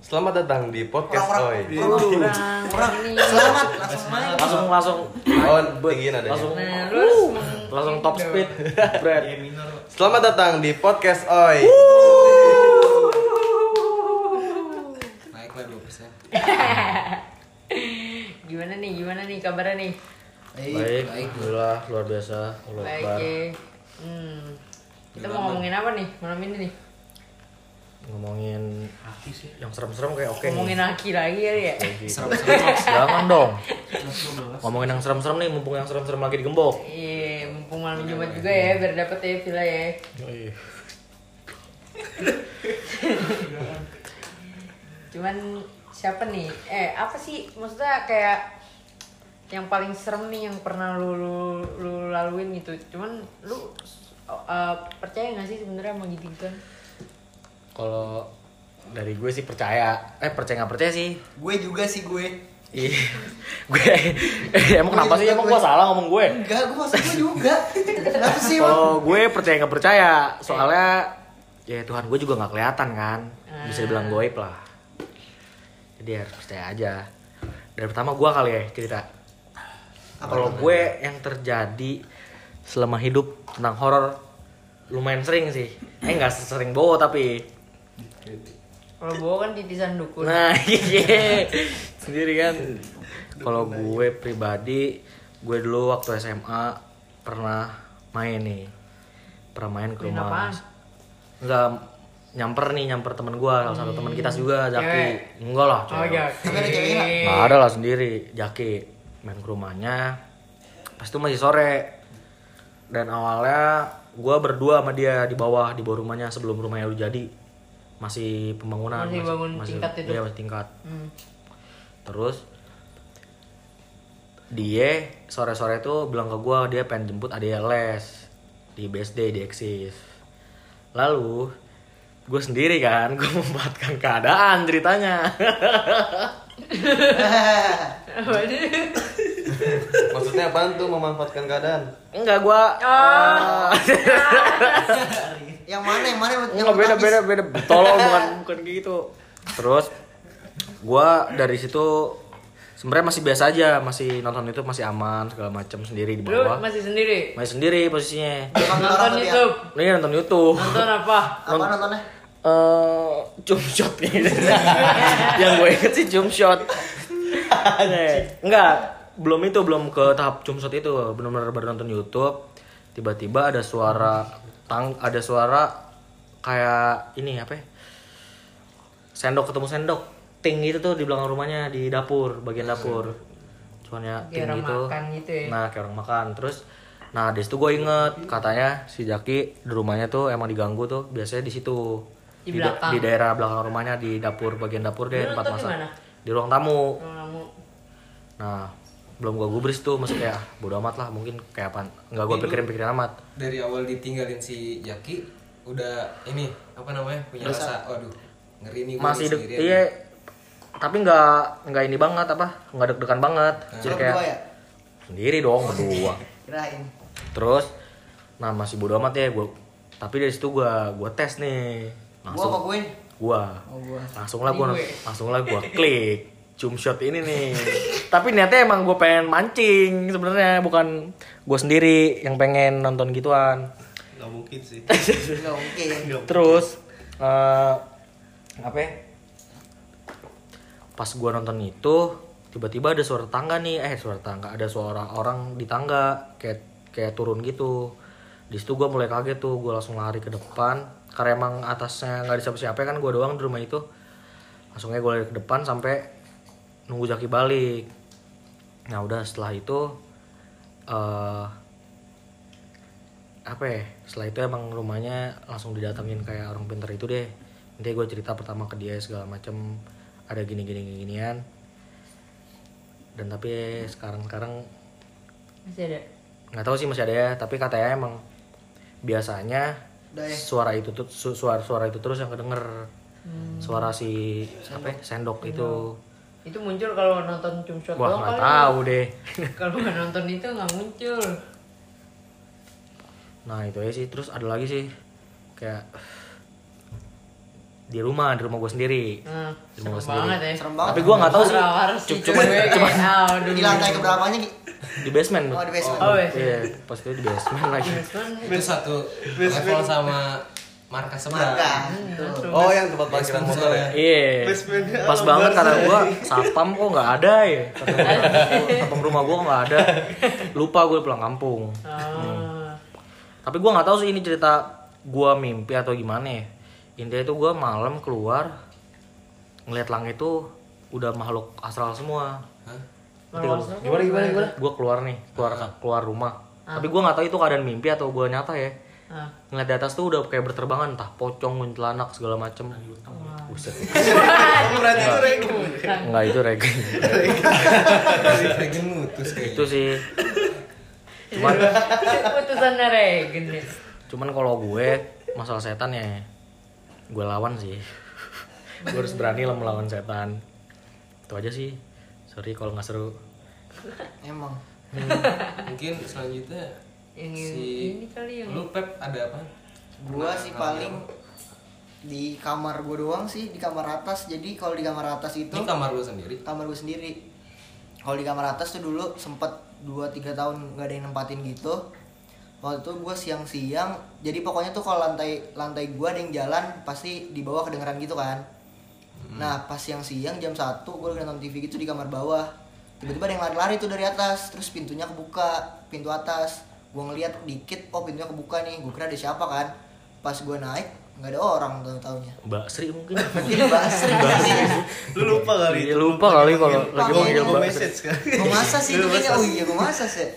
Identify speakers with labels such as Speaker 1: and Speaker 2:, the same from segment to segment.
Speaker 1: Selamat datang di podcast
Speaker 2: Orang-orang
Speaker 1: Oi.
Speaker 2: di- Kurang. Selamat langsung main.
Speaker 3: langsung langsung
Speaker 1: Oh, tinggiin adanya.
Speaker 3: langsung uh,
Speaker 4: Nah, terus
Speaker 3: langsung top speed bread
Speaker 2: Iya,
Speaker 1: Selamat datang di podcast Oi.
Speaker 2: Naiklah 2%.
Speaker 4: gimana nih gimana nih kabarnya nih
Speaker 2: Baik,
Speaker 3: baik
Speaker 2: baik.
Speaker 3: alhamdulillah luar biasa Allah
Speaker 4: baik
Speaker 3: Akbar.
Speaker 2: iya.
Speaker 4: ya hmm. kita
Speaker 2: Gimana?
Speaker 4: mau ngomongin apa nih malam ini nih
Speaker 3: ngomongin yang serem-serem kayak oke
Speaker 4: ngomongin
Speaker 3: nih.
Speaker 4: laki lagi kali ya
Speaker 3: Lagi.
Speaker 2: Serem-serem.
Speaker 3: jangan dong ngomongin yang serem-serem nih mumpung yang serem-serem lagi digembok
Speaker 4: iya mumpung malam jumat juga ya biar dapet ya villa ya
Speaker 2: Iya.
Speaker 4: cuman siapa nih eh apa sih maksudnya kayak yang paling serem nih yang pernah lu lu, lu laluin gitu cuman lu eh, percaya gak sih sebenarnya mau gitu gituan
Speaker 3: kalau dari gue sih percaya eh percaya nggak percaya sih
Speaker 2: Gue juga sih gue.
Speaker 3: Ih, Iya. gue eh, emang kenapa sih emang gue salah ngomong gue
Speaker 2: Enggak, gue maksud gue juga. Kenapa sih, Bang?
Speaker 3: Kalau gue percaya nggak percaya, soalnya ya Tuhan gue juga nggak kelihatan kan, bisa dibilang goib lah. Jadi harus percaya aja. Dari pertama gue kali ya cerita.
Speaker 2: Apa
Speaker 3: Kalau gue yang terjadi selama hidup tentang horor lumayan sering sih. Eh nggak sering bowo tapi.
Speaker 4: kalau bawa kan titisan dukun
Speaker 3: Nah iya sendiri kan. Kalau gue pribadi, gue dulu waktu SMA pernah main nih, pernah main ke
Speaker 4: Main apaan?
Speaker 3: rumah. Enggak nyamper nih nyamper temen gue salah satu teman kita juga Jaki
Speaker 4: Hmm. Cewek.
Speaker 3: enggak lah
Speaker 4: Oh
Speaker 3: cewek.
Speaker 4: ya.
Speaker 2: Tapi ada ceweknya nggak?
Speaker 3: Nggak ada lah sendiri Jaki main ke rumahnya pas itu masih sore dan awalnya gue berdua sama dia di bawah di bawah rumahnya sebelum rumahnya udah jadi masih pembangunan
Speaker 4: Masih bangun tingkat itu?
Speaker 3: iya, masih tingkat
Speaker 4: Hmm.
Speaker 3: terus dia sore-sore itu bilang ke gue dia pengen jemput adik les di BSD di Eksis lalu gue sendiri kan gue memanfaatkan keadaan ceritanya
Speaker 1: Maksudnya apaan tuh memanfaatkan keadaan?
Speaker 3: enggak eh, gue
Speaker 4: Ah.
Speaker 2: Yang mana, yang mana? Yang
Speaker 3: Enggak Oh, beda
Speaker 2: habis?
Speaker 3: beda beda. Tolong bukan bukan kayak gitu. Terus gua dari situ sebenarnya masih biasa aja, masih nonton itu masih aman segala macam sendiri
Speaker 4: Lu
Speaker 3: di bawah.
Speaker 4: masih sendiri?
Speaker 3: Masih sendiri posisinya.
Speaker 2: Bukan orang
Speaker 4: Nonton
Speaker 2: tadi ya.
Speaker 4: YouTube?
Speaker 3: Ini nonton YouTube.
Speaker 4: Nonton apa?
Speaker 2: Apa nontonnya?
Speaker 3: Eh, jump shot nih. Yang gue inget sih jump shot. Eh, Enggak, belum itu belum ke tahap jump shot itu. Benar-benar baru nonton YouTube. Tiba-tiba ada suara tang ada suara kayak ini apa ya? Sendok ketemu sendok. Ting itu tuh di belakang rumahnya di dapur, bagian dapur. Cuman ya ting
Speaker 4: Kayak orang
Speaker 3: gitu.
Speaker 4: Iya, makan gitu ya?
Speaker 3: Nah, kayak orang makan. Terus nah di situ gue inget katanya si Jaki di rumahnya tuh emang diganggu tuh biasanya di situ
Speaker 4: Di
Speaker 3: da-
Speaker 4: belakang.
Speaker 3: di daerah belakang rumahnya di dapur bagian dapur
Speaker 4: Lu
Speaker 3: deh tempat
Speaker 4: nonton di
Speaker 3: masak
Speaker 4: mana?
Speaker 3: di ruang tamu
Speaker 4: Kalau kamu
Speaker 3: nah belum gua gubris tuh maksudnya ah, bodo amat lah mungkin kayak apaan nggak gua pikirin pikirin amat
Speaker 5: dari awal ditinggalin si Jaki udah ini apa namanya punya rasa waduh ngeri nih gue
Speaker 3: masih deg
Speaker 5: sendirian.
Speaker 3: iya tapi nggak nggak ini banget apa nggak deg-degan banget jadi
Speaker 2: Lo
Speaker 3: kayak
Speaker 2: berdua ya?
Speaker 3: sendiri dong berdua
Speaker 2: Kirain.
Speaker 3: terus nah masih bodo amat ya gua tapi dari situ gua gua tes nih
Speaker 2: Gue apa
Speaker 3: langsung
Speaker 2: gue?
Speaker 3: gua
Speaker 2: Oh, gua.
Speaker 3: langsung lah gua
Speaker 4: Gue.
Speaker 3: langsung lah gua klik cum shot ini nih tapi niatnya emang gue pengen mancing sebenarnya bukan gue sendiri yang pengen nonton gituan
Speaker 6: Gak mungkin sih.
Speaker 2: Enggak mungkin.
Speaker 3: terus eh apa ya? pas gua nonton itu tiba-tiba ada suara tangga nih eh suara tangga ada suara orang di tangga kayak kayak turun gitu di situ gua mulai kaget tuh gua langsung lari ke depan karena emang atasnya nggak ada siapa-siapa kan gua doang di rumah itu langsungnya gue lari ke depan sampai nunggu jaki balik nah udah setelah itu eh apa ya setelah itu emang rumahnya langsung didatengin kayak orang pinter itu deh nanti gue cerita pertama ke dia segala macem ada gini gini gini, ginian dan tapi sekarang sekarang
Speaker 4: masih ada?
Speaker 3: nggak tahu sih masih ada ya tapi katanya emang biasanya
Speaker 2: Udah ya?
Speaker 3: suara itu tuh su- suara suara itu terus yang kedenger
Speaker 2: Hmm.
Speaker 3: suara si apa ya, sendok itu
Speaker 4: Itu muncul kalau nonton cum shot
Speaker 3: wah
Speaker 4: doang
Speaker 2: ya?
Speaker 3: nggak
Speaker 4: kali. ya?
Speaker 3: tahu deh
Speaker 4: Kalau nggak nonton itu nggak muncul.
Speaker 3: nah itu aja sih terus ada lagi sih kayak di rumah di rumah gue sendiri
Speaker 4: Hmm,
Speaker 3: Di rumah
Speaker 4: serem
Speaker 3: sendiri.
Speaker 4: banget ya.
Speaker 2: Serem banget.
Speaker 3: tapi gue nggak tahu sih
Speaker 4: Harus
Speaker 3: Cuma-
Speaker 4: dicoba.
Speaker 3: cuma-
Speaker 4: Eh, aduh.
Speaker 2: Di lantai keberapanya Ki?
Speaker 3: di basement
Speaker 2: Oh, di basement.
Speaker 4: Oh, iya.
Speaker 3: iya pas itu di basement lagi
Speaker 5: itu satu level sama markas seberang
Speaker 2: Markas. Tuh.
Speaker 4: Terus-
Speaker 1: Oh, yang tempat parkiran
Speaker 5: Basement
Speaker 1: motor ya.
Speaker 5: saya.
Speaker 3: Iya. Pas banget karena gua sapam kok nggak ada ya. Kata gua, Sapam rumah gua nggak ada. Lupa gue pulang kampung.
Speaker 4: Ah.
Speaker 3: Tapi gua nggak tahu sih ini cerita gua mimpi atau gimana ya. Intinya itu gua malam keluar ngeliat langit itu udah makhluk astral semua.
Speaker 5: Hah?
Speaker 4: Malu banget. Gimana gimana gimana?
Speaker 3: Gua keluar nih, keluar keluar rumah. Tapi gua nggak tahu itu keadaan mimpi atau gua nyata ya.
Speaker 4: Ah.
Speaker 3: Ngeliat di atas tuh udah kayak berterbangan entah pocong, kuntilanak segala macem. Buset. Ah, iya. Enggak itu reg.
Speaker 5: Regen mutus
Speaker 3: itu
Speaker 5: gitu. kayaknya
Speaker 3: sih
Speaker 4: Putusannya Regen nih.
Speaker 3: cuman kalau gue masalah setan ya gue lawan sih gue harus berani lah melawan setan itu aja sih sorry kalau nggak seru
Speaker 2: Emang.
Speaker 5: mungkin selanjutnya
Speaker 4: Yang
Speaker 5: si
Speaker 4: ini kali yang-
Speaker 5: lu pep ada apa
Speaker 2: Gua sih paling di kamar gua doang sih di kamar atas. Jadi kalau di kamar atas itu
Speaker 5: ini kamar lu sendiri
Speaker 2: kamar gue sendiri kalau di kamar atas tuh dulu sempet 2-3 tahun nggak ada yang nempatin gitu waktu itu gue siang-siang jadi pokoknya tuh kalau lantai lantai gue ada yang jalan pasti di bawah kedengeran gitu kan nah pas siang-siang jam 1 gue lagi nonton TV gitu di kamar bawah tiba-tiba ada yang lari-lari tuh dari atas terus pintunya kebuka pintu atas gue ngeliat dikit oh pintunya kebuka nih gue kira ada siapa kan pas gue naik nggak ada orang tahu taunya
Speaker 3: mbak Sri mungkin
Speaker 2: Jadi Mbak Sri
Speaker 6: Lu lupa kali
Speaker 3: Iya, lupa kali kalau lagi
Speaker 2: Gua-
Speaker 3: manggil
Speaker 6: Gua
Speaker 3: mbak Sri
Speaker 6: message kan.
Speaker 2: gue masa sih itu kayaknya oh iya gue masa sih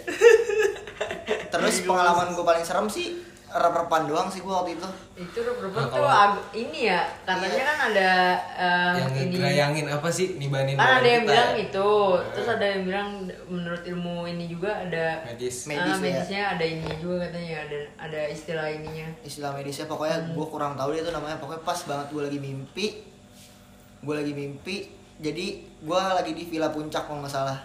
Speaker 2: terus pengalaman gue paling serem sih rep-repan doang sih gue waktu itu
Speaker 4: Itu rupanya
Speaker 5: Nah,
Speaker 4: tuh
Speaker 5: kalau- Iya.
Speaker 4: ag- ini ya katanya kan ada eh,
Speaker 5: yang
Speaker 4: ini
Speaker 5: ngegerayangin apa sih nibanin
Speaker 4: kan ada
Speaker 5: badan
Speaker 4: yang
Speaker 5: kita
Speaker 4: bilang
Speaker 5: ya?
Speaker 4: itu terus ada yang bilang menurut ilmu ini juga ada
Speaker 5: medis
Speaker 2: Me-
Speaker 4: ah,
Speaker 2: Medis ya.
Speaker 4: medisnya ada ini juga katanya ada ada istilah ininya
Speaker 2: istilah medisnya pokoknya gue kurang tahu dia tuh namanya pokoknya pas banget gue lagi mimpi gue lagi mimpi jadi gue lagi di Villa Puncak kalau nggak salah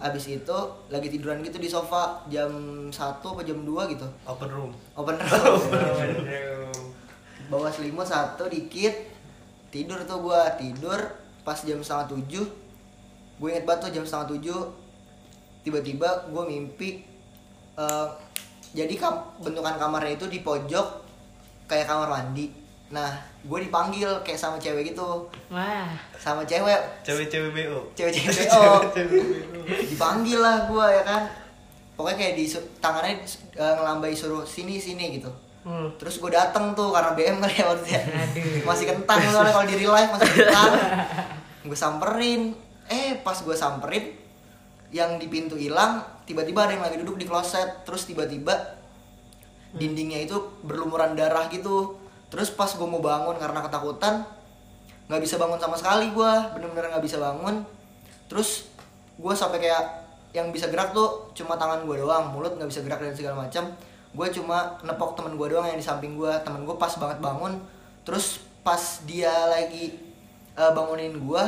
Speaker 2: abis itu lagi tiduran gitu di sofa jam 1 apa jam 2 gitu
Speaker 6: Open room.
Speaker 2: open room bawa selimut satu dikit tidur tuh gua tidur pas jam setengah tujuh gue inget banget tuh jam setengah tujuh tiba-tiba gue mimpi eh, jadi kam- bentukan kamarnya itu di pojok kayak kamar mandi nah gue dipanggil kayak sama cewek gitu
Speaker 4: wah
Speaker 2: sama cewek
Speaker 6: Cewek-cewek BO.
Speaker 2: cewek-cewek oh
Speaker 6: Cewek-cewek BO.
Speaker 2: dipanggil lah gue ya kan pokoknya kayak di tangannya eh, ngelambai suruh sini sini gitu
Speaker 4: Hmm.
Speaker 2: terus gue dateng tuh karena BM kali ya waktu itu ya. masih kentang soalnya kalau di real life masih kentang gue samperin eh pas gue samperin yang di pintu hilang tiba-tiba ada yang lagi duduk di kloset terus tiba-tiba dindingnya itu berlumuran darah gitu terus pas gue mau bangun karena ketakutan nggak bisa bangun sama sekali gue bener-bener nggak bisa bangun terus gue sampai kayak yang bisa gerak tuh cuma tangan gue doang mulut nggak bisa gerak dan segala macam gue cuma nepok temen gue doang yang di samping gue temen gue pas banget bangun terus pas dia lagi eh, bangunin gue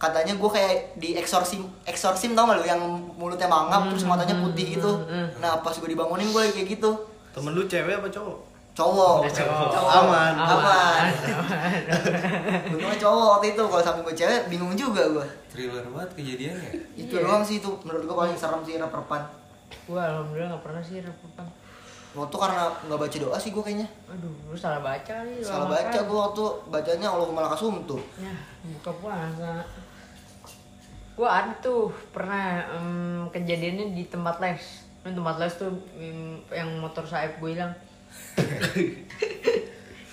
Speaker 2: katanya gue kayak di eksorsim eksorsim tau gak lu yang mulutnya mangap terus
Speaker 6: Hmm,
Speaker 2: matanya putih gitu nah pas gue dibangunin gue kayak gitu
Speaker 6: Temen lu cewek apa cowok?
Speaker 2: cowok
Speaker 6: Cowok. Aman.
Speaker 2: aman untungnya cowok waktu itu kalau samping gue cewek bingung juga gue
Speaker 5: thriller banget kejadiannya
Speaker 2: itu
Speaker 4: Iya.
Speaker 2: doang sih itu menurut gue paling serem sih reperpan
Speaker 4: gua alhamdulillah nggak pernah sih repotan
Speaker 2: waktu itu karena nggak baca doa sih gue kayaknya
Speaker 4: aduh lu salah baca kali lu
Speaker 2: salah
Speaker 4: makan.
Speaker 2: baca gue waktu bacanya Allahumma lakasum tuh
Speaker 4: Ya, buka puasa. Gua ada tuh pernah em, kejadiannya di tempat les. Ini tempat les tuh em, yang motor saib gue hilang.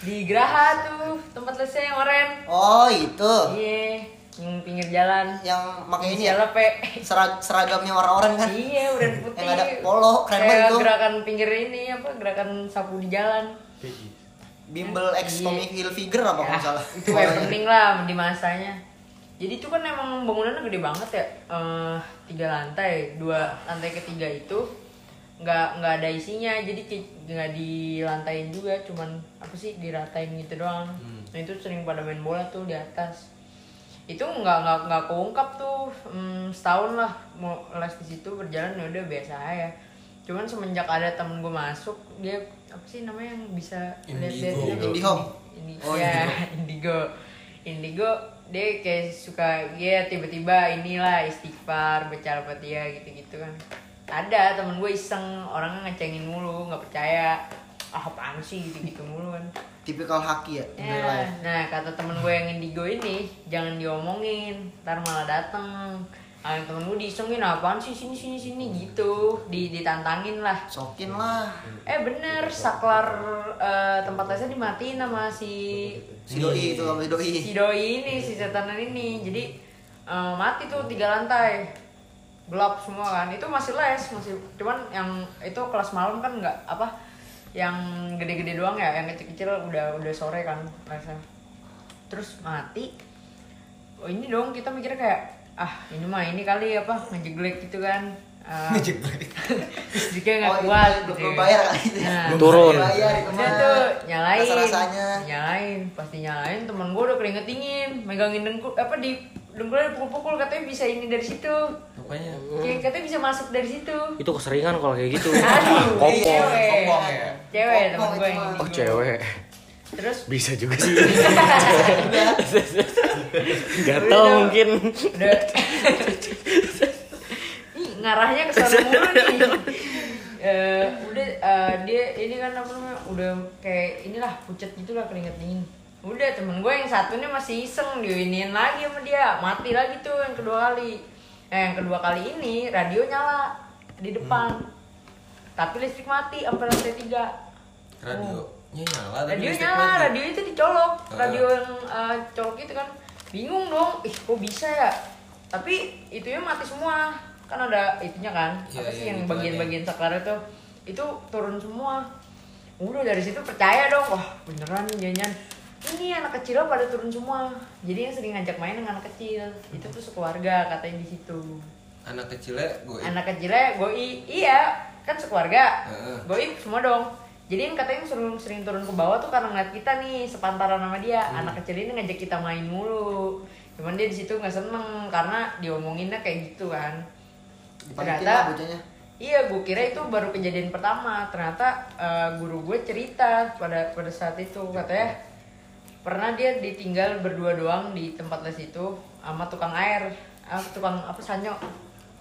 Speaker 4: di Graha tuh tempat lesnya yang oren.
Speaker 2: oh itu
Speaker 4: Iya, yang pinggir jalan.
Speaker 2: yang pakai ini ya
Speaker 4: Inisialnya P.
Speaker 2: sera- seragamnya orang-orang kan
Speaker 4: Iya, udah putih.
Speaker 2: Yang ada polo, keren
Speaker 4: Kayak
Speaker 2: banget tuh.
Speaker 4: gerakan pinggir ini apa gerakan sapu di jalan.
Speaker 2: bimbel X
Speaker 4: Iya.
Speaker 2: Tommy Hilfiger apa kalau
Speaker 4: Ya,
Speaker 2: nggak salah
Speaker 4: itu kayak penting lah di masanya jadi itu kan emang bangunannya gede banget ya Eh, tiga lantai dua lantai ketiga itu nggak nggak ada isinya jadi kayak nggak dilantain juga cuman apa sih diratain gitu doang nah itu sering pada main bola tuh di atas itu nggak nggak nggak keungkap tuh Hmm, setahun lah mau les di situ berjalan ya udah biasa aja cuman semenjak ada temen gue masuk dia apa sih namanya yang bisa lihat-lihat
Speaker 5: Indigo.
Speaker 4: gitu.
Speaker 2: Indihome.
Speaker 4: ini
Speaker 2: Oh,
Speaker 4: ya indigo indigo dia kayak suka ya tiba-tiba inilah istighfar baca al-fatihah gitu-gitu kan ada temen gue iseng orangnya ngecengin mulu nggak percaya ah apaan sih gitu-gitu mulu kan
Speaker 2: Tipikal haki ya, in real
Speaker 4: Ya,
Speaker 2: life.
Speaker 4: nah kata temen gue yang indigo ini jangan diomongin, ntar malah dateng. Ah temen gue diisengin apaan sih sini sini sini gitu, di ditantangin lah.
Speaker 2: Sokin lah.
Speaker 4: Eh bener saklar eh, tempat lesnya dimatiin sama si
Speaker 2: Si doi itu sama si doi.
Speaker 4: si doi ini si setanan ini, jadi eh, mati tuh tiga lantai gelap semua kan itu masih les masih cuman yang itu kelas malam kan nggak apa yang gede-gede doang ya yang kecil-kecil udah udah sore kan lesnya terus mati oh ini dong kita mikirnya kayak ah ini mah ini kali apa ngejeglek gitu kan Eh, listriknya nggak
Speaker 2: Oh,
Speaker 4: kuat
Speaker 2: ini belum
Speaker 4: gitu.
Speaker 2: belum bayar kali itu.
Speaker 4: Nah.
Speaker 2: Belum
Speaker 3: Turun.
Speaker 2: Bayar iya, itu
Speaker 4: Udah
Speaker 2: mah.
Speaker 4: tuh Nah, nyalain.
Speaker 2: Rasa-rasanya.
Speaker 4: Nyalain, pasti nyalain. Temen gue udah keringet dingin, megangin dengkul apa di dengkulnya dipukul-pukul katanya bisa ini dari situ.
Speaker 5: Apanya?
Speaker 4: Kayak katanya bisa masuk dari situ.
Speaker 3: Itu keseringan kalau kayak gitu.
Speaker 4: Aduh, Iya,
Speaker 3: Kopong.
Speaker 4: cewek.
Speaker 5: Kopong ya?
Speaker 4: Cewek temen
Speaker 2: Kopong
Speaker 4: gue
Speaker 2: itu
Speaker 4: yang
Speaker 2: mah.
Speaker 4: ini.
Speaker 3: Oh cewek.
Speaker 4: Terus
Speaker 3: Bisa juga sih. Gak tau
Speaker 4: Udah.
Speaker 3: mungkin.
Speaker 4: udah Ih, ngarahnya ke sana mulu nih. Eh, udah eh, dia ini kan apa namanya udah kayak inilah pucat gitulah keringet dingin udah temen gue yang satunya masih iseng diinin lagi sama dia mati lagi tuh yang kedua kali eh, yang kedua kali ini radio nyala di depan tapi listrik mati sampai lantai tiga
Speaker 5: Radio. Nya nyala tapi
Speaker 4: radio
Speaker 5: listrik
Speaker 4: nyala
Speaker 5: mati.
Speaker 4: radio itu dicolok
Speaker 5: Ah.
Speaker 4: radio yang eh, colok itu kan bingung dong ih kok bisa ya tapi itunya mati semua kan ada itunya kan
Speaker 5: Iya,
Speaker 4: apa sih
Speaker 5: iya,
Speaker 4: yang
Speaker 5: gitu
Speaker 4: bagian-bagian saklar itu itu turun semua udah dari situ percaya dong wah beneran nih jangan ini anak kecil pada turun semua jadi yang sering ngajak main dengan anak kecil itu tuh sekeluarga katanya di situ
Speaker 5: Anak kecilnya gue
Speaker 4: anak kecilnya goi iya kan sekeluarga
Speaker 5: Heeh.
Speaker 4: goi semua dong jadi yang katanya sering sering turun ke bawah tuh karena ngeliat kita nih sepantaran sama dia anak kecil ini ngajak kita main mulu cuman dia di situ nggak seneng karena diomonginnya kayak gitu kan
Speaker 2: Dipanikin
Speaker 4: ternyata
Speaker 2: lah bocahnya.
Speaker 4: iya gue kira itu baru kejadian pertama ternyata eh, guru gue cerita pada pada saat itu katanya pernah dia ditinggal berdua doang di tempat les itu sama tukang air ah, tukang apa sanyo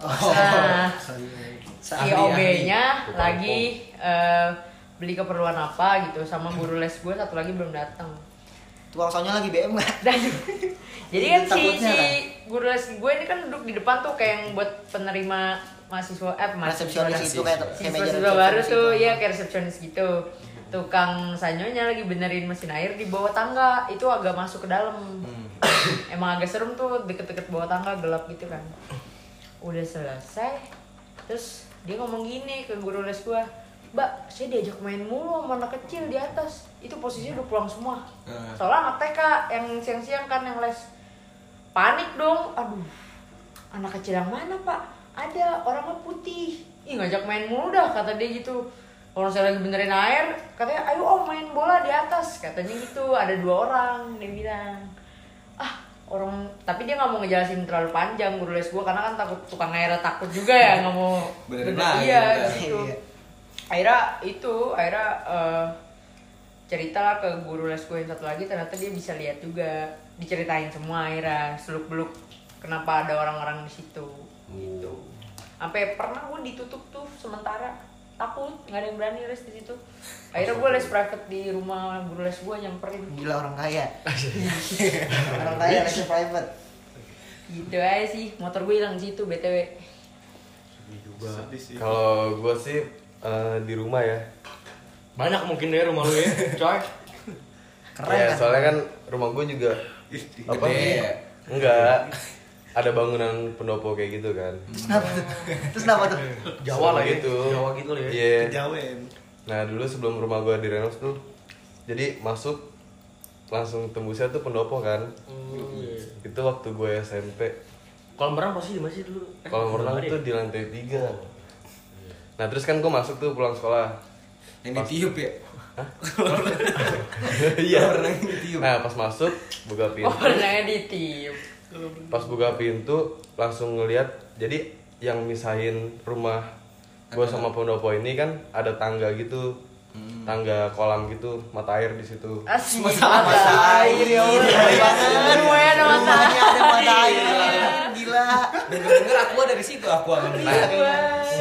Speaker 2: Oh,
Speaker 4: Nah, si
Speaker 5: Ahli,
Speaker 4: OB-nya lagi eh, beli keperluan apa gitu sama guru les gue satu lagi belum datang.
Speaker 2: Tukang soalnya lagi BM nggak?
Speaker 4: Dan jadi kan si,
Speaker 2: Takutnya
Speaker 4: si
Speaker 2: kan?
Speaker 4: guru les gue ini kan duduk di depan tuh kayak yang buat penerima mahasiswa eh mahasiswa
Speaker 2: Resepsionis itu kayak kayak
Speaker 4: siswa
Speaker 2: meja
Speaker 4: siswa baru
Speaker 2: resepsionis
Speaker 4: tuh
Speaker 2: itu.
Speaker 4: ya kayak resepsionis gitu tukang sanyonya lagi benerin mesin air di bawah tangga itu agak masuk ke dalam
Speaker 2: Hmm.
Speaker 4: emang agak serem tuh deket-deket bawah tangga gelap gitu kan udah selesai terus dia ngomong gini ke guru les gua mbak saya diajak main mulu sama anak kecil di atas itu posisinya udah pulang semua
Speaker 5: Eh.
Speaker 4: soalnya anak TK yang siang-siang kan yang les panik dong aduh anak kecil yang mana pak ada orangnya putih ih ngajak main mulu dah kata dia gitu orang saya lagi benerin air katanya ayo om main bola di atas katanya gitu ada dua orang dia bilang ah orang tapi dia nggak mau ngejelasin terlalu panjang guru les gue karena kan takut tukang airnya takut juga ya nggak mau bener-
Speaker 5: Benerin lagi,
Speaker 4: iya
Speaker 5: bener.
Speaker 4: gitu
Speaker 2: Iya.
Speaker 4: akhirnya itu akhirnya eh, ceritalah ke guru les gue yang satu lagi ternyata dia bisa lihat juga diceritain semua akhirnya seluk beluk kenapa ada orang-orang di situ gitu sampai pernah gue ditutup tuh sementara takut nggak ada yang berani les di situ akhirnya gue les private di rumah guru les gue nyamperin
Speaker 2: Gila orang kaya. orang kaya lesnya private.
Speaker 4: gitu aja sih motor gue hilang di situ btw
Speaker 6: Sedih sih.
Speaker 1: Kalau gue sih eh, di rumah ya.
Speaker 3: Banyak mungkin deh rumah lu ya, coy.
Speaker 2: Keren
Speaker 1: ya,
Speaker 2: kan?
Speaker 1: soalnya kan rumah gue juga apa? Iya.
Speaker 5: Gede ya?
Speaker 1: Enggak. Ada bangunan pendopo kayak gitu kan.
Speaker 2: Kenapa tuh? Terus kenapa tuh?
Speaker 3: Jawa lah ya.
Speaker 1: gitu.
Speaker 3: Jawa gitu lah ya.
Speaker 1: Iya.
Speaker 6: Kejawen.
Speaker 1: Nah dulu sebelum rumah gue direnov tuh, jadi masuk langsung tembusnya tuh pendopo kan.
Speaker 3: Oh, iya.
Speaker 1: Itu waktu gue SMP.
Speaker 3: Eh, Kolam renang pasti di masjid dulu. Eh,
Speaker 1: Kolam renang
Speaker 3: ada ya?
Speaker 1: tuh di lantai tiga. Nah terus kan gue masuk tuh pulang sekolah.
Speaker 5: Yang ditiup ya?
Speaker 1: Iya.
Speaker 5: Pernah yang ditiup.
Speaker 1: Nah pas masuk buka
Speaker 4: oh
Speaker 1: pintu.
Speaker 4: pernah ditiup
Speaker 1: Pas buka pintu langsung ngeliat. Jadi yang misahin rumah gue sama pendopo ini kan ada tangga gitu.
Speaker 7: tangga kolam gitu mata air di situ
Speaker 4: Asli
Speaker 2: Mata air ya Allah.
Speaker 4: Ngeri banget. Rumahnya ada mata
Speaker 2: Rumahnya ada mata air. Gila.
Speaker 5: Dengar dengar aku ada di situ aku akan
Speaker 7: nah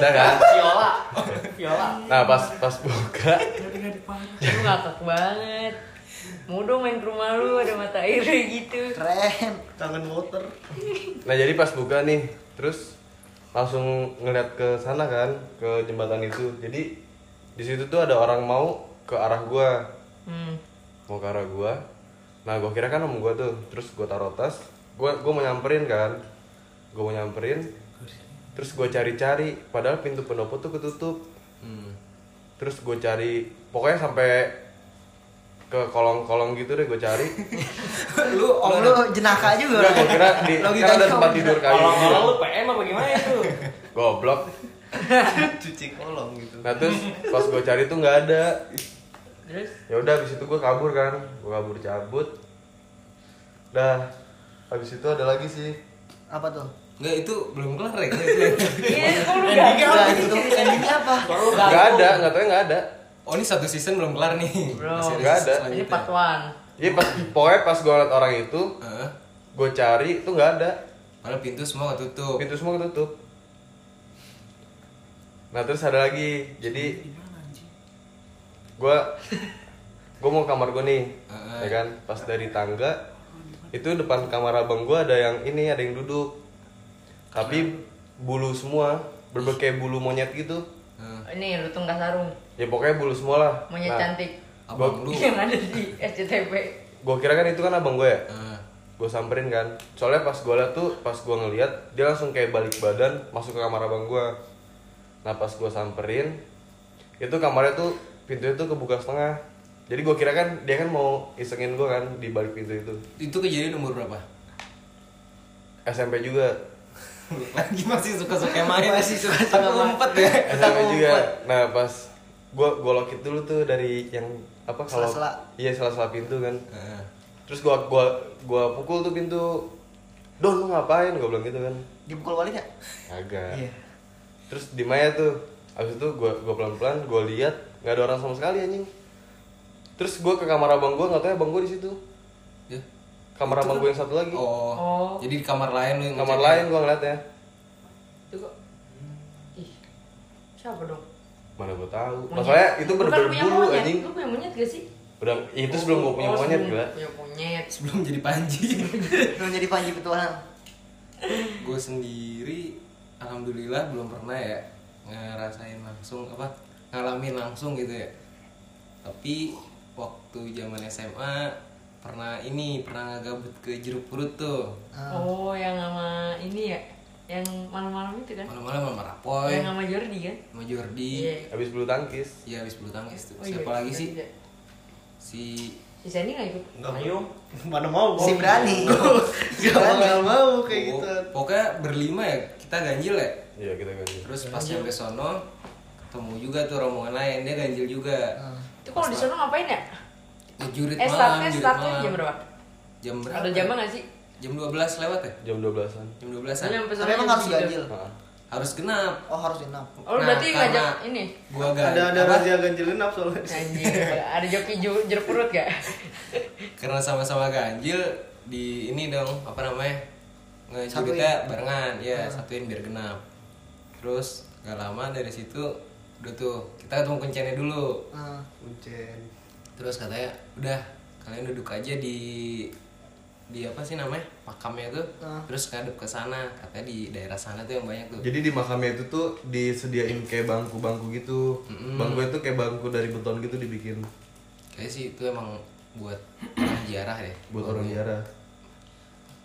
Speaker 7: udah kan
Speaker 4: Viola Viola
Speaker 7: nah pas pas buka
Speaker 4: Lu ngakak banget Mau dong main ke rumah lu ada mata air gitu
Speaker 2: Keren.
Speaker 8: Kangen water.
Speaker 7: nah jadi pas buka nih terus langsung ngeliat ke sana kan ke jembatan itu jadi di situ tuh ada orang mau ke arah gua
Speaker 4: Hmm
Speaker 7: mau ke arah gua nah gua kira kan om gua tuh terus gua taruh tas gua gua mau nyamperin kan gua mau nyamperin terus gua cari-cari padahal pintu pendopo tuh ketutup terus gua cari pokoknya sampai ke kolong-kolong gitu deh gua cari
Speaker 5: Lu
Speaker 2: Om lu jenaka juga.
Speaker 7: Enggak, gua kira di
Speaker 2: Logikanya
Speaker 7: kan ada
Speaker 2: om
Speaker 7: tempat
Speaker 2: jenaka.
Speaker 7: tidur kayu gitu.
Speaker 5: kalau lu PM apa gimana itu?
Speaker 7: goblok
Speaker 8: Cuci kolong gitu.
Speaker 7: nah terus pas gua cari tuh nggak ada
Speaker 4: Terus
Speaker 7: ya udah habis itu gua kabur kan gua kabur cabut dah habis itu ada lagi sih
Speaker 2: Apa tuh?
Speaker 5: Enggak itu belum kelar ya.
Speaker 4: Iya kok lu
Speaker 2: Endingnya
Speaker 4: gagal
Speaker 2: apa itu? gitu. Endingnya apa?
Speaker 7: nggak ada nggak tahu nggak ada
Speaker 5: Oh ini satu season belum kelar nih.
Speaker 4: Bro.
Speaker 5: Masih
Speaker 7: Nggak
Speaker 5: season
Speaker 7: ada.
Speaker 4: Ini
Speaker 5: selanjutnya.
Speaker 4: part 1
Speaker 7: Iya pas pokoknya pas gue liat orang itu,
Speaker 5: Heeh.
Speaker 7: gue cari itu nggak ada,
Speaker 5: Malah pintu semua ketutup.
Speaker 7: pintu semua ketutup. Nah terus ada lagi, jadi gue gue mau kamar gue nih,
Speaker 5: Heeh.
Speaker 7: ya kan? Pas dari tangga itu depan kamar abang gue ada yang ini ada yang duduk,
Speaker 4: Iya.
Speaker 7: tapi bulu semua berbagai bulu monyet gitu,
Speaker 5: Heeh.
Speaker 4: Ini lu tunggah sarung
Speaker 7: ya pokoknya bulu semua lah. Nah,
Speaker 4: Monyet cantik
Speaker 5: Abang lu.
Speaker 4: Yang ada di SCTV
Speaker 7: Gue kira kan itu kan abang gue ya.
Speaker 5: Heeh.
Speaker 7: gue samperin kan soalnya pas gue liat tuh pas gue ngeliat dia langsung kayak balik badan masuk ke kamar abang gue nah pas gue samperin itu kamarnya tuh pintunya tuh kebuka setengah jadi gue kira kan dia kan mau isengin gue kan di balik pintu itu
Speaker 5: Itu kejadian umur berapa?
Speaker 7: SMP juga
Speaker 5: Lagi masih suka-suka main.
Speaker 2: Masih suka-suka
Speaker 5: Tapi
Speaker 2: main.
Speaker 5: umpet ya.
Speaker 7: SMP juga nah pas gue golokit dulu tuh dari yang apa kalau
Speaker 2: Sela-sela.
Speaker 7: iya salah-salah pintu kan
Speaker 5: Heeh.
Speaker 7: terus gue gua gua pukul tuh pintu don lu ngapain gue bilang gitu kan
Speaker 2: Dipukul balik ya?
Speaker 7: Kagak.
Speaker 2: Iya.
Speaker 7: Terus di Maya tuh, abis itu gue gua pelan-pelan gue lihat nggak ada orang sama sekali anjing. Terus gue ke kamar abang gue nggak tahu ya abang gue di situ.
Speaker 5: Ya.
Speaker 7: Kamar abang gue yang satu lagi.
Speaker 5: Oh.
Speaker 4: kan Oh.
Speaker 5: Jadi di kamar lain lu yang
Speaker 7: Kamar
Speaker 5: ngecek
Speaker 7: lain gue ngeliat ya.
Speaker 4: Itu kok Ih Siapa dong?
Speaker 7: Mana gue tahu.
Speaker 4: Monyet.
Speaker 7: Masalnya itu
Speaker 4: Lu kan
Speaker 7: bener-bener
Speaker 4: punya
Speaker 7: bulu
Speaker 4: monyet.
Speaker 7: anjing.
Speaker 4: Lu punya monyet gak sih?
Speaker 7: Udah itu sebelum gue punya
Speaker 4: Oh,
Speaker 7: monyet
Speaker 4: sebelum
Speaker 7: gila.
Speaker 4: Punya monyet
Speaker 5: Sebelum jadi panji.
Speaker 2: Lu jadi panji petualang.
Speaker 5: gue sendiri alhamdulillah belum pernah ya ngerasain langsung apa ngalamin langsung gitu ya tapi waktu zaman SMA pernah ini pernah gabut ke jeruk purut tuh
Speaker 4: Oh yang sama ini ya Yang malam-malam itu kan?
Speaker 5: malam-malam sama Rapoy
Speaker 4: Yang sama Jordi kan?
Speaker 5: sama Jordi
Speaker 4: Iya
Speaker 7: Abis bulu tangkis.
Speaker 5: iya habis bulu tangkis tuh
Speaker 4: Oh, iya,
Speaker 5: siapa lagi sih
Speaker 4: iya.
Speaker 5: si
Speaker 4: Si Sandy gak ikut?
Speaker 8: Enggak mau. Mana mau
Speaker 2: Si berani. Si berani.
Speaker 8: Enggak mau kayak
Speaker 5: Bo-
Speaker 8: gitu.
Speaker 5: pokoknya berlima ya kita ganjil ya
Speaker 7: Iya kita ganti.
Speaker 5: terus pas sampai sono ketemu juga tuh rombongan lain dia ganjil juga
Speaker 4: Itu kalau di sana ngapain ya?
Speaker 5: Ngejurit
Speaker 4: Ah. Eh
Speaker 5: malam,
Speaker 4: startnya
Speaker 5: jurit
Speaker 4: startnya
Speaker 5: malam.
Speaker 4: jam berapa?
Speaker 5: Jam berapa?
Speaker 4: Ada jamnya gak sih?
Speaker 5: Jam 12 lewat ya?
Speaker 7: Jam 12-an.
Speaker 5: Jam
Speaker 4: Soalnya
Speaker 5: 12 an
Speaker 4: sampai
Speaker 2: Tapi
Speaker 4: sana
Speaker 2: emang
Speaker 4: jam
Speaker 2: harus
Speaker 4: tiga.
Speaker 2: ganjil.
Speaker 7: Nah,
Speaker 5: Harus genap
Speaker 2: Oh harus enam.
Speaker 4: Oh lu
Speaker 5: Nah,
Speaker 4: berarti
Speaker 5: karena-
Speaker 4: ngajak ini?
Speaker 5: Gua
Speaker 8: Ada
Speaker 5: ganjil
Speaker 8: ada razia ganjil genap soalnya.
Speaker 4: Anjir, ada joki ju- jeruk perut gak?
Speaker 5: Karena sama-sama ganjil Di ini dong, apa namanya Ngejuritnya barengan Ya, satuin biar genap Terus gak lama dari situ Udah tuh, kita ketemu kencennya dulu
Speaker 2: Nah,
Speaker 8: Uncen.
Speaker 5: Terus katanya, udah kalian duduk aja di di apa sih namanya makamnya tuh
Speaker 2: Ah.
Speaker 5: terus ngadep ke sana katanya di daerah sana tuh yang banyak tuh
Speaker 7: Jadi di makamnya itu tuh disediain kayak bangku-bangku gitu. Bangku itu kayak bangku dari beton gitu dibikin
Speaker 5: Kayaknya sih itu emang buat orang ziarah ya. deh.
Speaker 7: buat
Speaker 6: Oh,
Speaker 7: orang
Speaker 6: iya.
Speaker 7: jarah.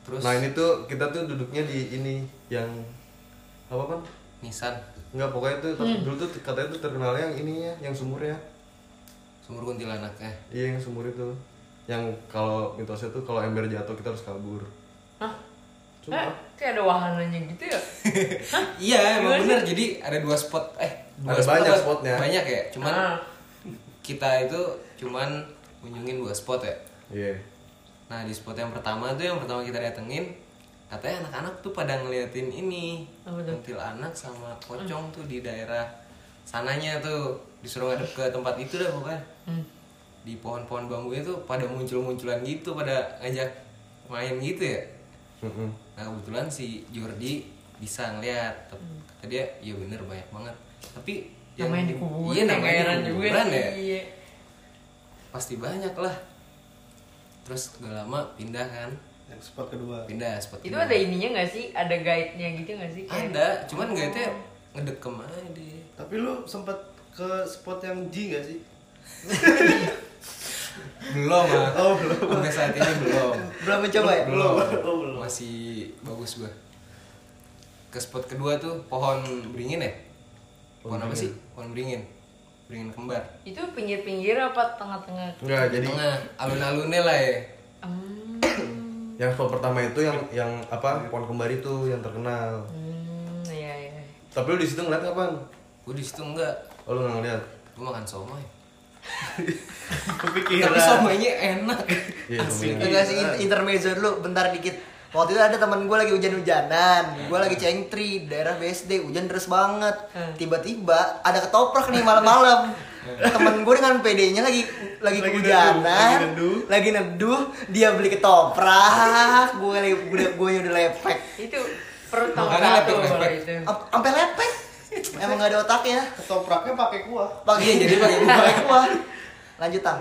Speaker 5: Terus
Speaker 7: Nah ini tuh kita tuh duduknya di ini yang apa kan?
Speaker 5: nisan
Speaker 7: Enggak pokoknya tuh tapi dulu tuh katanya tuh terkenalnya yang ininya, yang sumurnya.
Speaker 5: sumur kuntilanak ya.
Speaker 7: Iya yang sumur itu. Yang kalau mitosnya tuh kalau ember jatuh kita harus kabur.
Speaker 4: Hah? Eh, kayak ada wahananya gitu ya?
Speaker 5: Iya emang bener jadi ada dua spot eh dua
Speaker 7: Ada banyak
Speaker 5: apa?
Speaker 7: spotnya.
Speaker 5: Banyak ya. Cuman
Speaker 4: Ah.
Speaker 5: kita itu cuman kunjungin dua spot ya.
Speaker 7: Iya.
Speaker 5: Nah di spot yang pertama tuh yang pertama kita datengin katanya anak-anak tuh pada ngeliatin ini
Speaker 4: Apa tuh?
Speaker 5: kuntilanak sama pocong tuh di daerah sananya tuh disuruh ngadep ke tempat itu dah pokoknya
Speaker 4: Hmm,
Speaker 5: di pohon-pohon bambunya tuh pada muncul-munculan gitu pada ngajak main gitu ya
Speaker 1: Mm-mm.
Speaker 5: nah kebetulan si Jordi bisa ngeliat Tep- kata dia iya bener banyak banget tapi
Speaker 4: Hmm. namanya di kuburan
Speaker 5: iya namanya di
Speaker 4: heran juga
Speaker 5: kuburan ya
Speaker 4: iya
Speaker 5: pasti banyak lah terus gak lama pindah kan
Speaker 6: Yang spot kedua.
Speaker 5: pindah spot
Speaker 4: itu
Speaker 5: kedua.
Speaker 4: ada ininya nggak sih ada guide nya gitu nggak sih Kayak-
Speaker 5: ada cuman gak itu ngedekem aja deh
Speaker 6: Tapi lu sempet ke spot yang G gak sih?
Speaker 5: belum ah
Speaker 6: Oh, belum.
Speaker 5: sampai saat ini belum
Speaker 2: Belum mencoba ya?
Speaker 5: belum
Speaker 6: Oh, belum.
Speaker 5: masih bagus gua ke spot kedua tuh pohon beringin ya pohon, apa sih pohon beringin beringin kembar
Speaker 4: itu pinggir-pinggir apa tengah-tengah
Speaker 1: Enggak, jadi
Speaker 5: tengah alun-alunnya lah ya
Speaker 4: Hmm.
Speaker 1: yang spot pertama itu yang yang apa pohon kembar itu yang terkenal.
Speaker 4: hmm iya iya
Speaker 1: Tapi lu di situ ngeliat kapan?
Speaker 5: gua di situ enggak
Speaker 1: Oh, lu nggak ngeliat?
Speaker 5: gua makan somai tapi
Speaker 6: Kepikiran.
Speaker 5: somainya enak
Speaker 1: Iya,
Speaker 5: Asli.
Speaker 1: lumayan.
Speaker 2: Enggak sih in- intermezzo dulu bentar dikit. Waktu itu ada teman gue lagi hujan-hujanan, gue lagi cengtri di daerah BSD, hujan deras banget. Tiba-tiba ada ketoprak nih malam-malam. Temen gue dengan PD-nya lagi lagi
Speaker 6: Lagi
Speaker 2: hujanan,
Speaker 6: neduh,
Speaker 2: lagi neduh, dia beli ketoprak, gue udah gue udah lepek,
Speaker 4: itu perut nomor
Speaker 5: Makanya
Speaker 4: satu
Speaker 5: lepek-lepek.
Speaker 4: kalau itu
Speaker 2: Am- ampe lepek, emang gak ada otaknya.
Speaker 6: Ketopraknya pakai kuah.
Speaker 2: Pakai
Speaker 5: Iya, jadi pakai kuah.
Speaker 2: pakai kuah. Lanjutan.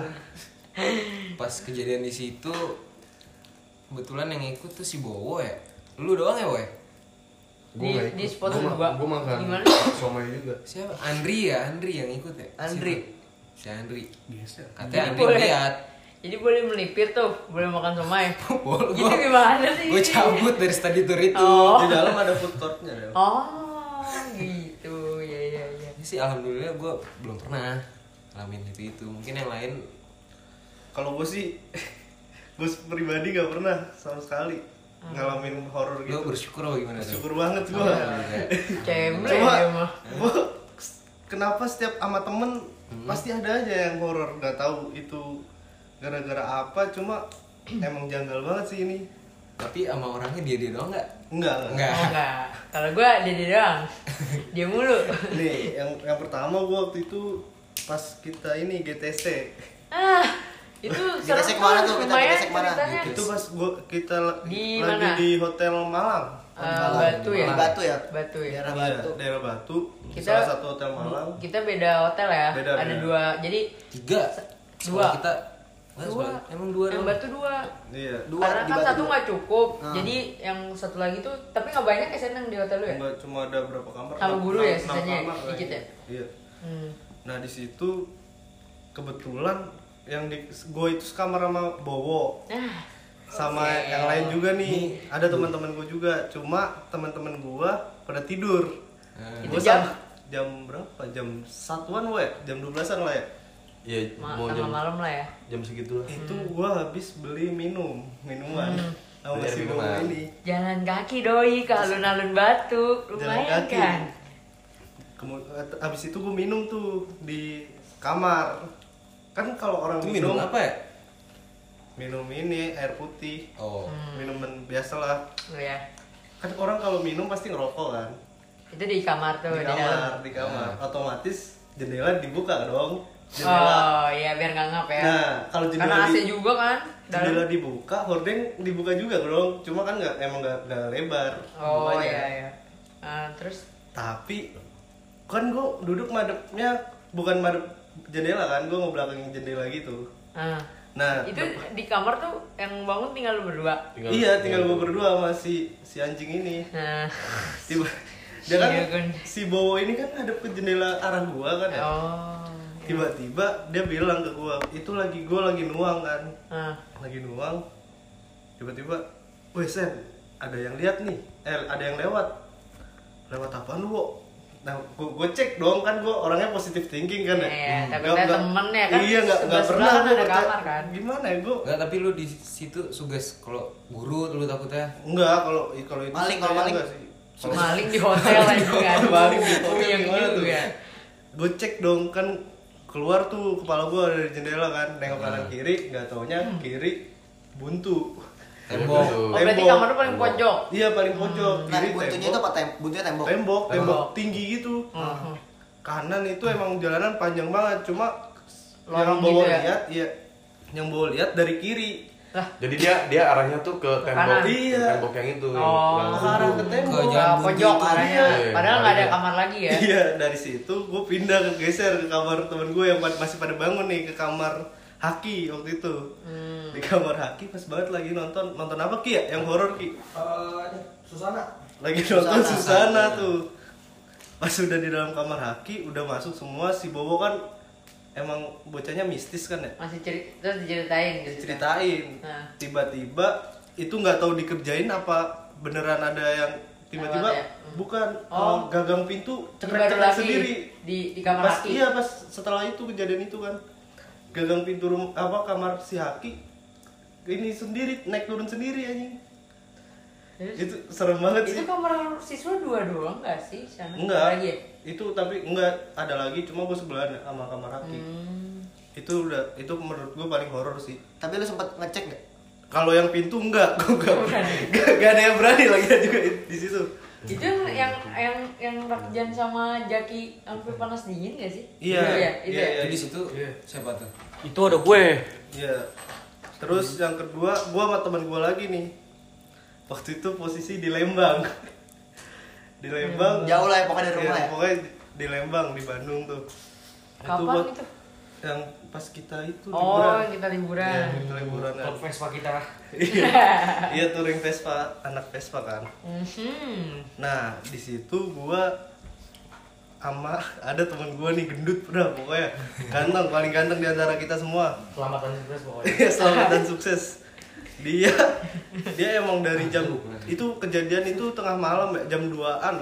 Speaker 5: pas kejadian di situ kebetulan yang ikut tuh si Bowo ya lu doang ya Boy
Speaker 1: Gua
Speaker 4: Di-
Speaker 1: nggak
Speaker 4: di
Speaker 1: ikut.
Speaker 4: spot
Speaker 1: Gua ma-
Speaker 4: kedua.
Speaker 1: Gua makan
Speaker 4: Gimana?
Speaker 1: somai juga.
Speaker 5: siapa Andri ya Andri yang ikut ya
Speaker 2: Andri.
Speaker 5: Siapa? si Andri
Speaker 6: Biasa.
Speaker 5: katanya
Speaker 4: Jadi
Speaker 5: Andri
Speaker 4: boleh.
Speaker 5: lihat
Speaker 4: jadi boleh melipir tuh boleh makan somai
Speaker 5: Boleh.
Speaker 4: itu gimana sih
Speaker 5: gue cabut dari study tour itu
Speaker 4: Oh.
Speaker 6: Di dalam ada food courtnya. Del.
Speaker 4: oh gitu ya ya ya
Speaker 5: Ini sih alhamdulillah gue belum pernah ngalamin itu itu mungkin yang lain
Speaker 6: Kalau gue sih, gue pribadi gak pernah sama sekali
Speaker 4: Ah.
Speaker 6: ngalamin horor
Speaker 5: gue
Speaker 6: gitu.
Speaker 5: bersyukur apa gimana tuh?
Speaker 6: Syukur banget gue.
Speaker 5: Alhamdulillah.
Speaker 4: cemble
Speaker 6: Cuma
Speaker 4: ya mah
Speaker 6: gua kenapa setiap sama temen pasti ada aja yang horor nggak tahu itu gara-gara apa cuma emang janggal banget sih ini
Speaker 5: tapi sama orangnya dia dia doang nggak
Speaker 6: enggak enggak
Speaker 5: enggak
Speaker 4: Oh, enggak kalau gue dia dia doang dia mulu
Speaker 6: nih yang yang pertama gua waktu itu pas kita ini GTC
Speaker 4: ah itu
Speaker 2: Kita
Speaker 4: serem
Speaker 2: sek mana tuh? Kita- kita
Speaker 4: lumayan
Speaker 2: sek mana?
Speaker 4: ceritanya.
Speaker 6: itu pas gua kita la-
Speaker 4: Di
Speaker 6: lagi
Speaker 4: mana?
Speaker 6: di hotel Malang
Speaker 4: Eh, batu ya
Speaker 2: Di Batu ya?
Speaker 4: batu ya
Speaker 2: Daerah
Speaker 6: Iya,
Speaker 2: Batu.
Speaker 6: daerah Batu
Speaker 4: Kita- Hmm.
Speaker 6: salah satu hotel Malang
Speaker 4: kita beda hotel ya
Speaker 6: Beda,
Speaker 4: ada
Speaker 6: beda.
Speaker 4: dua jadi
Speaker 5: tiga
Speaker 4: Dua.
Speaker 5: Sekolah kita Enggak,
Speaker 4: dua
Speaker 5: sekolah- emang dua
Speaker 4: yang
Speaker 5: doang
Speaker 4: batu dua
Speaker 6: iya
Speaker 2: Dua
Speaker 4: karena
Speaker 2: di
Speaker 4: kan
Speaker 2: Batu.
Speaker 4: satu nggak cukup jadi yang satu lagi tuh tapi nggak banyak ya seneng di hotel lu ya
Speaker 6: Enggak, cuma ada berapa kamar
Speaker 4: Sama
Speaker 6: enam-
Speaker 4: guru ya,
Speaker 6: enam
Speaker 4: sisanya ya?
Speaker 6: kamar
Speaker 4: Dikit
Speaker 6: kayaknya.
Speaker 4: ya?
Speaker 6: iya
Speaker 4: hmm.
Speaker 6: Nah di situ kebetulan yang di gue itu sekamar sama Bowo
Speaker 4: ah
Speaker 6: sama yang lain juga nih ada teman-teman gue juga cuma teman-teman gue pada tidur
Speaker 5: Eh,
Speaker 4: Itu
Speaker 6: Kan Gua
Speaker 4: jam?
Speaker 6: sam- jam berapa jam satuan we jam 12an lah ya
Speaker 1: Iya,
Speaker 4: ma-
Speaker 1: mau
Speaker 4: tengah
Speaker 1: jam
Speaker 4: malam lah ya
Speaker 1: jam segitu lah.
Speaker 6: itu gue habis beli minum minuman sama
Speaker 1: Beli
Speaker 6: si Bowo
Speaker 1: minuman.
Speaker 6: ini
Speaker 4: jalan kaki doi ke alun-alun batu
Speaker 6: jalan
Speaker 4: lumayan
Speaker 6: kaki
Speaker 4: kan
Speaker 6: Kemu- at- abis itu gue minum tuh di kamar kan kalau orang
Speaker 5: itu minum apa ya
Speaker 6: minum ini air putih
Speaker 5: oh
Speaker 6: minuman biasa lah
Speaker 4: Oh ya
Speaker 6: kan orang kalau minum pasti ngerokok kan
Speaker 4: itu di kamar tuh
Speaker 6: di
Speaker 4: di dalam.
Speaker 6: kamar di kamar
Speaker 4: Nah.
Speaker 6: otomatis jendela dibuka dong jendela
Speaker 4: oh iya biar nggak ngap ya
Speaker 6: Nah, kalau jendela
Speaker 4: karena AC
Speaker 6: di-
Speaker 4: juga kan dalam
Speaker 6: jendela dibuka hordeng dibuka juga dong cuma kan nggak emang nggak nggak lebar
Speaker 4: oh
Speaker 6: bukanya.
Speaker 4: iya iya Ah, terus
Speaker 6: tapi kan gue duduk madepnya bukan madep jendela kan gue ngebelakangin jendela gitu
Speaker 4: ah.
Speaker 6: nah
Speaker 4: itu
Speaker 6: dep-
Speaker 4: di kamar tuh yang bangun tinggal lu berdua
Speaker 6: iya tinggal gue berdua sama si si anjing ini
Speaker 4: nah
Speaker 6: tiba dia kan
Speaker 4: Iya, Gun.
Speaker 6: si Bowo ini kan ada ke jendela arah gua kan ya
Speaker 4: oh
Speaker 6: tiba-tiba dia bilang ke gua itu lagi gua lagi nuang kan
Speaker 4: ah.
Speaker 6: lagi nuang tiba-tiba weh Sen ada yang lihat nih eh ada yang lewat lewat apa lu Wo?" nah gua, gua cek dong kan gua orangnya positif thinking kan ya
Speaker 4: Iya,
Speaker 6: Hmm.
Speaker 4: takutnya
Speaker 6: Nggak- nggak-
Speaker 4: temen ya kan,
Speaker 6: iya nggak nggak
Speaker 4: sebelah
Speaker 6: pernah
Speaker 4: sebelahan
Speaker 6: gua
Speaker 4: ada
Speaker 6: percaya-
Speaker 4: kamar kan.
Speaker 6: gimana ya gua
Speaker 5: enggak tapi lu di situ suges kalau guru lu takutnya
Speaker 6: enggak kalau kalau itu
Speaker 2: Maling,
Speaker 6: sih
Speaker 2: kalau
Speaker 6: kayaknya
Speaker 2: maling.
Speaker 6: enggak sih
Speaker 4: maling di hotel lagi kan
Speaker 6: Maling di hotel
Speaker 4: Iya,
Speaker 6: gimana tuh?
Speaker 4: juga.
Speaker 6: gue cek dong kan keluar tuh kepala gue dari jendela kan nengok kanan kiri nggak taunya
Speaker 4: Hmm.
Speaker 6: kiri buntu
Speaker 1: Iya,
Speaker 7: Iya,
Speaker 5: tembok
Speaker 4: oh berarti
Speaker 6: Tembok.
Speaker 4: kamar lu paling pojok
Speaker 6: iya paling pojok
Speaker 2: Nah,
Speaker 6: kiri
Speaker 2: buntunya itu
Speaker 6: tembok
Speaker 2: apa tem- buntunya tembok?
Speaker 6: tembok tembok tinggi gitu
Speaker 4: Hmm.
Speaker 6: kanan itu emang jalanan panjang banget cuma
Speaker 4: Lorong
Speaker 6: yang bawa
Speaker 4: gitu ya?
Speaker 6: lihat iya yang bawa lihat dari kiri
Speaker 1: Jadi dia dia arahnya tuh ke tembok,
Speaker 4: kanan.
Speaker 1: ke
Speaker 6: Iya.
Speaker 1: tembok yang itu. yang-
Speaker 4: Oh.
Speaker 1: yang
Speaker 6: ke arah ke
Speaker 5: Ke
Speaker 6: tembok
Speaker 5: jalan
Speaker 4: Wah, pojok
Speaker 5: buntu.
Speaker 4: arahnya.
Speaker 1: Iya,
Speaker 4: Padahal nggak ada
Speaker 1: iya.
Speaker 4: kamar lagi ya.
Speaker 6: Iya, dari situ gue pindah ke geser ke kamar temen gue yang pa- masih pada bangun nih ke kamar Haki waktu itu.
Speaker 4: Hmm,
Speaker 6: Di kamar Haki pas banget lagi nonton nonton apa Ki ya? Yang horor Ki.
Speaker 7: Susana
Speaker 6: Lagi nonton Susana, tuh. Pas udah di dalam kamar Haki udah masuk semua si Bobo kan emang bocahnya mistis kan ya?
Speaker 4: Masih cerita terus diceritain gitu.
Speaker 6: Diceritain.
Speaker 4: Nah.
Speaker 6: Tiba-tiba itu nggak tahu dikerjain apa beneran ada yang tiba-tiba
Speaker 4: Lewat ya? Hmm.
Speaker 6: bukan
Speaker 4: Oh.
Speaker 6: eh, gagang pintu
Speaker 4: Baru
Speaker 6: cekrek-cekrek
Speaker 4: lagi
Speaker 6: sendiri
Speaker 4: di di kamar
Speaker 6: pas,
Speaker 4: laki.
Speaker 6: Iya pas setelah itu kejadian itu kan gagang pintu rum apa kamar si Haki ini sendiri naik turun sendiri anjing
Speaker 4: Terus,
Speaker 6: itu serem banget
Speaker 4: Hmm? itu
Speaker 6: sih
Speaker 4: kamar siswa dua doang nggak sih? Sana
Speaker 6: enggak
Speaker 4: Lagi ya?
Speaker 6: itu tapi enggak ada lagi cuma gue sebelahan sama kamar Haki
Speaker 4: Hmm.
Speaker 6: itu udah itu menurut gue paling horor sih
Speaker 2: Tapi lu sempet ngecek gak?
Speaker 6: kalau yang pintu enggak gue enggak gak, gak ada yang berani lagi juga di situ
Speaker 4: Itu yang
Speaker 6: Hmm.
Speaker 4: yang yang yang Rakjan sama Jaki sampai panas dingin gak sih?
Speaker 6: Iya,
Speaker 4: Itu ya, itu
Speaker 6: iya,
Speaker 4: ya.
Speaker 5: Jadi di situ siapa tuh?
Speaker 3: Itu ada gue.
Speaker 6: Iya.
Speaker 2: Hmm.
Speaker 6: Terus yang kedua, gua sama teman gua lagi nih. Waktu itu posisi di Lembang. di Lembang.
Speaker 2: Jauh lah ya, pokoknya dari rumah
Speaker 6: Iya,
Speaker 2: ya.
Speaker 6: Pokoknya di Lembang di Bandung tuh.
Speaker 4: Kapan
Speaker 6: buat
Speaker 4: itu?
Speaker 6: Yang pas kita itu
Speaker 4: Oh,
Speaker 6: liburan.
Speaker 4: kita liburan.
Speaker 6: Iya, kita liburan. kan.
Speaker 3: Vespa kita.
Speaker 6: Iya. Iya, touring Vespa, anak Vespa kan.
Speaker 4: Mhm.
Speaker 6: Nah, di situ gua sama ada temen gua nih gendut udah pokoknya ganteng paling ganteng di antara kita semua
Speaker 3: Selamat dan sukses pokoknya.
Speaker 6: Iya, selamat dan sukses. Dia dia emang dari jam itu kejadian itu tengah malam ya, jam 2-an.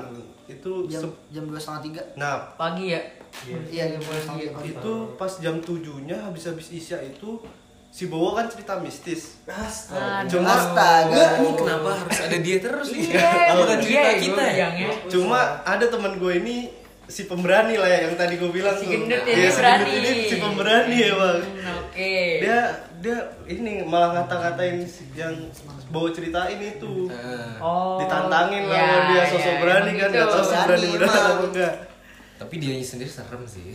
Speaker 6: Itu
Speaker 2: Jam
Speaker 6: sep-
Speaker 2: jam dua setengah tiga.
Speaker 6: nah,
Speaker 4: Pagi ya.
Speaker 2: Iya jam dua setengah tiga.
Speaker 6: itu pas jam 7-nya habis-habis Isya itu si Bowo kan cerita mistis. Oh,
Speaker 4: Aduh.
Speaker 6: Cuma
Speaker 2: Astaga.
Speaker 5: Enggak, ini kenapa harus ada dia terus nih?
Speaker 4: Ah, Iya,
Speaker 5: Bukan
Speaker 4: itu
Speaker 5: cerita
Speaker 4: dia gua
Speaker 5: kita ya?
Speaker 4: bilangnya.
Speaker 6: Cuma ada teman gue ini si pemberani lah ya yang tadi gue bilang
Speaker 4: Si
Speaker 6: tuh.
Speaker 4: gendut
Speaker 6: Iya,
Speaker 4: ini
Speaker 6: si
Speaker 4: berani.
Speaker 6: gendut ini si pemberani ya, Bang.
Speaker 4: Hmm, Oke.
Speaker 6: Dia dia ini malah ngata-ngatain si- yang Bowo ceritain itu.
Speaker 5: Nah,
Speaker 4: Oh.
Speaker 6: ditantangin lah
Speaker 4: ya,
Speaker 6: sama dia
Speaker 4: ya,
Speaker 6: sosok
Speaker 4: emang
Speaker 6: berani kan
Speaker 4: gitu.
Speaker 6: nggak tahu sih berani
Speaker 2: Berani,
Speaker 6: beneran
Speaker 2: Bang.
Speaker 6: apa enggak
Speaker 5: tapi dia sendiri serem sih.
Speaker 4: Eh,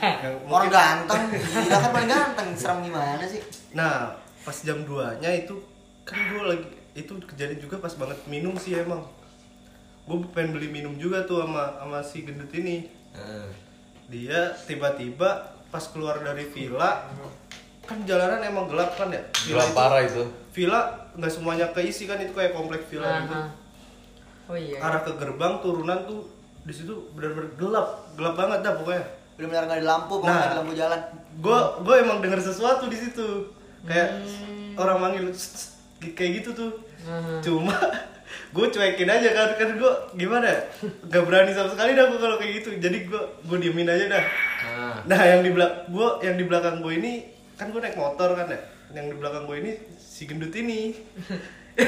Speaker 6: Ya,
Speaker 2: Orang
Speaker 6: mungkin-
Speaker 2: ganteng, gila kan paling ganteng, serem gimana sih?
Speaker 6: nah pas jam 2 nya itu kan gue lagi itu kejadian juga pas banget minum sih emang gue pengen beli minum juga tuh sama sama si gendut ini
Speaker 5: Nah,
Speaker 6: dia tiba-tiba pas keluar dari villa kan jalanan emang gelap kan ya villa
Speaker 1: Gelap
Speaker 6: itu-
Speaker 1: parah itu.
Speaker 6: villa nggak semuanya keisi kan itu kayak komplek villa
Speaker 4: Aha.
Speaker 6: gitu
Speaker 4: Oh iya.
Speaker 6: arah ke gerbang turunan tuh di situ benar-benar gelap gelap banget dah pokoknya
Speaker 2: Belum benar nggak ada lampu, pokoknya
Speaker 6: Nah.
Speaker 2: ada lampu jalan.
Speaker 6: gue gue emang denger sesuatu di situ kayak orang manggil "Tss, tss," gi- kayak gitu tuh cuma gue cuekin aja kan kan gue gimana ya? nggak berani sama sekali dah gue kalau kayak gitu jadi gue gue diemin aja dah
Speaker 5: Ah.
Speaker 6: nah yang di belak gue yang di belakang gue ini kan gue naik motor kan ya yang di belakang gue ini si gendut ini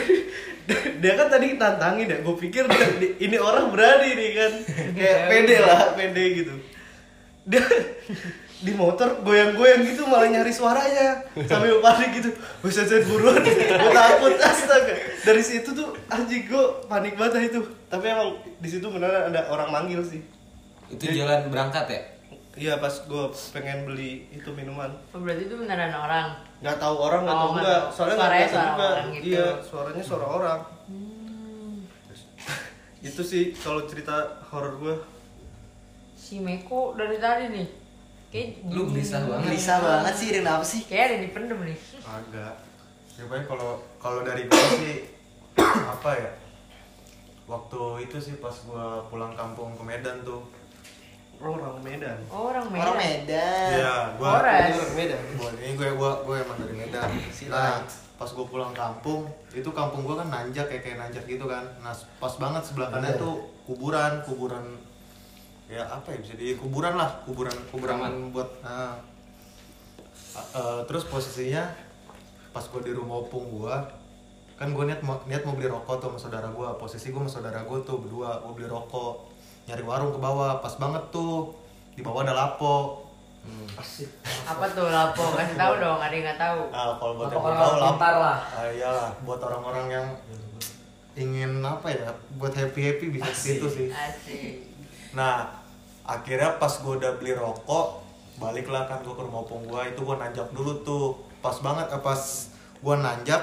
Speaker 6: dia kan tadi tantangin ya gue pikir dia- di- ini orang berani nih kan kayak pede lah pede gitu dia di motor goyang-goyang gitu malah nyari suaranya sambil panik gitu bisa saya buruan gue takut astaga dari situ tuh anjing gue panik banget dah itu tapi emang di situ beneran ada orang manggil sih
Speaker 5: Itu jalan berangkat ya?
Speaker 6: iya pas gue pengen beli itu minuman
Speaker 4: Oh, berarti itu beneran orang.
Speaker 6: nggak tahu orang nggak
Speaker 4: Oh,
Speaker 6: tahu
Speaker 4: nggak
Speaker 6: enggak
Speaker 4: tahu.
Speaker 6: soalnya nggak
Speaker 4: Suaranya
Speaker 6: biasa
Speaker 4: suara
Speaker 6: juga
Speaker 4: orang gitu. Hmm.
Speaker 6: iya suaranya suara orang itu sih kalau cerita horor gue
Speaker 4: Si Meko dari tadi nih. Kayak
Speaker 5: Lu gelisah
Speaker 7: Nah.
Speaker 5: banget.
Speaker 2: Gelisah banget sih, dengan apa sih?
Speaker 4: Kayak ada yang dipendem nih.
Speaker 7: agak ya pokoknya kalau kalau dari gue sih apa ya waktu itu sih pas gua pulang kampung ke Medan tuh
Speaker 6: orang Medan
Speaker 4: Oh, Orang Medan.
Speaker 2: Orang Medan.
Speaker 7: Iya, gua
Speaker 4: Horas.
Speaker 7: gua- gua- ini gue gua gua emang dari Medan. Nah, pas gue pulang kampung, itu kampung gua kan nanjak kayak kayak nanjak gitu kan. Nah, pas banget sebelah kanan tuh kuburan, kuburan ya apa ya bisa di kuburan lah, kuburan kuburan buat nah. A- eh, terus posisinya pas gue di rumah opung gua kan gue niat mau niat mau beli rokok tuh sama saudara gua posisi gue sama saudara gue tuh berdua gue beli rokok nyari warung ke bawah pas banget tuh di bawah ada lapo
Speaker 4: Apa tuh lapo? Kasih tahu dong, ada yang nggak tahu.
Speaker 7: Nah, kalau buat yang
Speaker 3: Untuk
Speaker 7: belum
Speaker 3: orang
Speaker 7: tahu lah,
Speaker 3: pintar lah.
Speaker 7: Ah, iyalah, buat orang-orang yang ingin apa ya, buat happy happy bisa ke situ sih.
Speaker 4: Asik.
Speaker 7: Nah, akhirnya pas gue udah beli rokok baliklah kan gue ke rumah opung gue itu gue nanjak dulu tuh pas banget eh, pas gue nanjak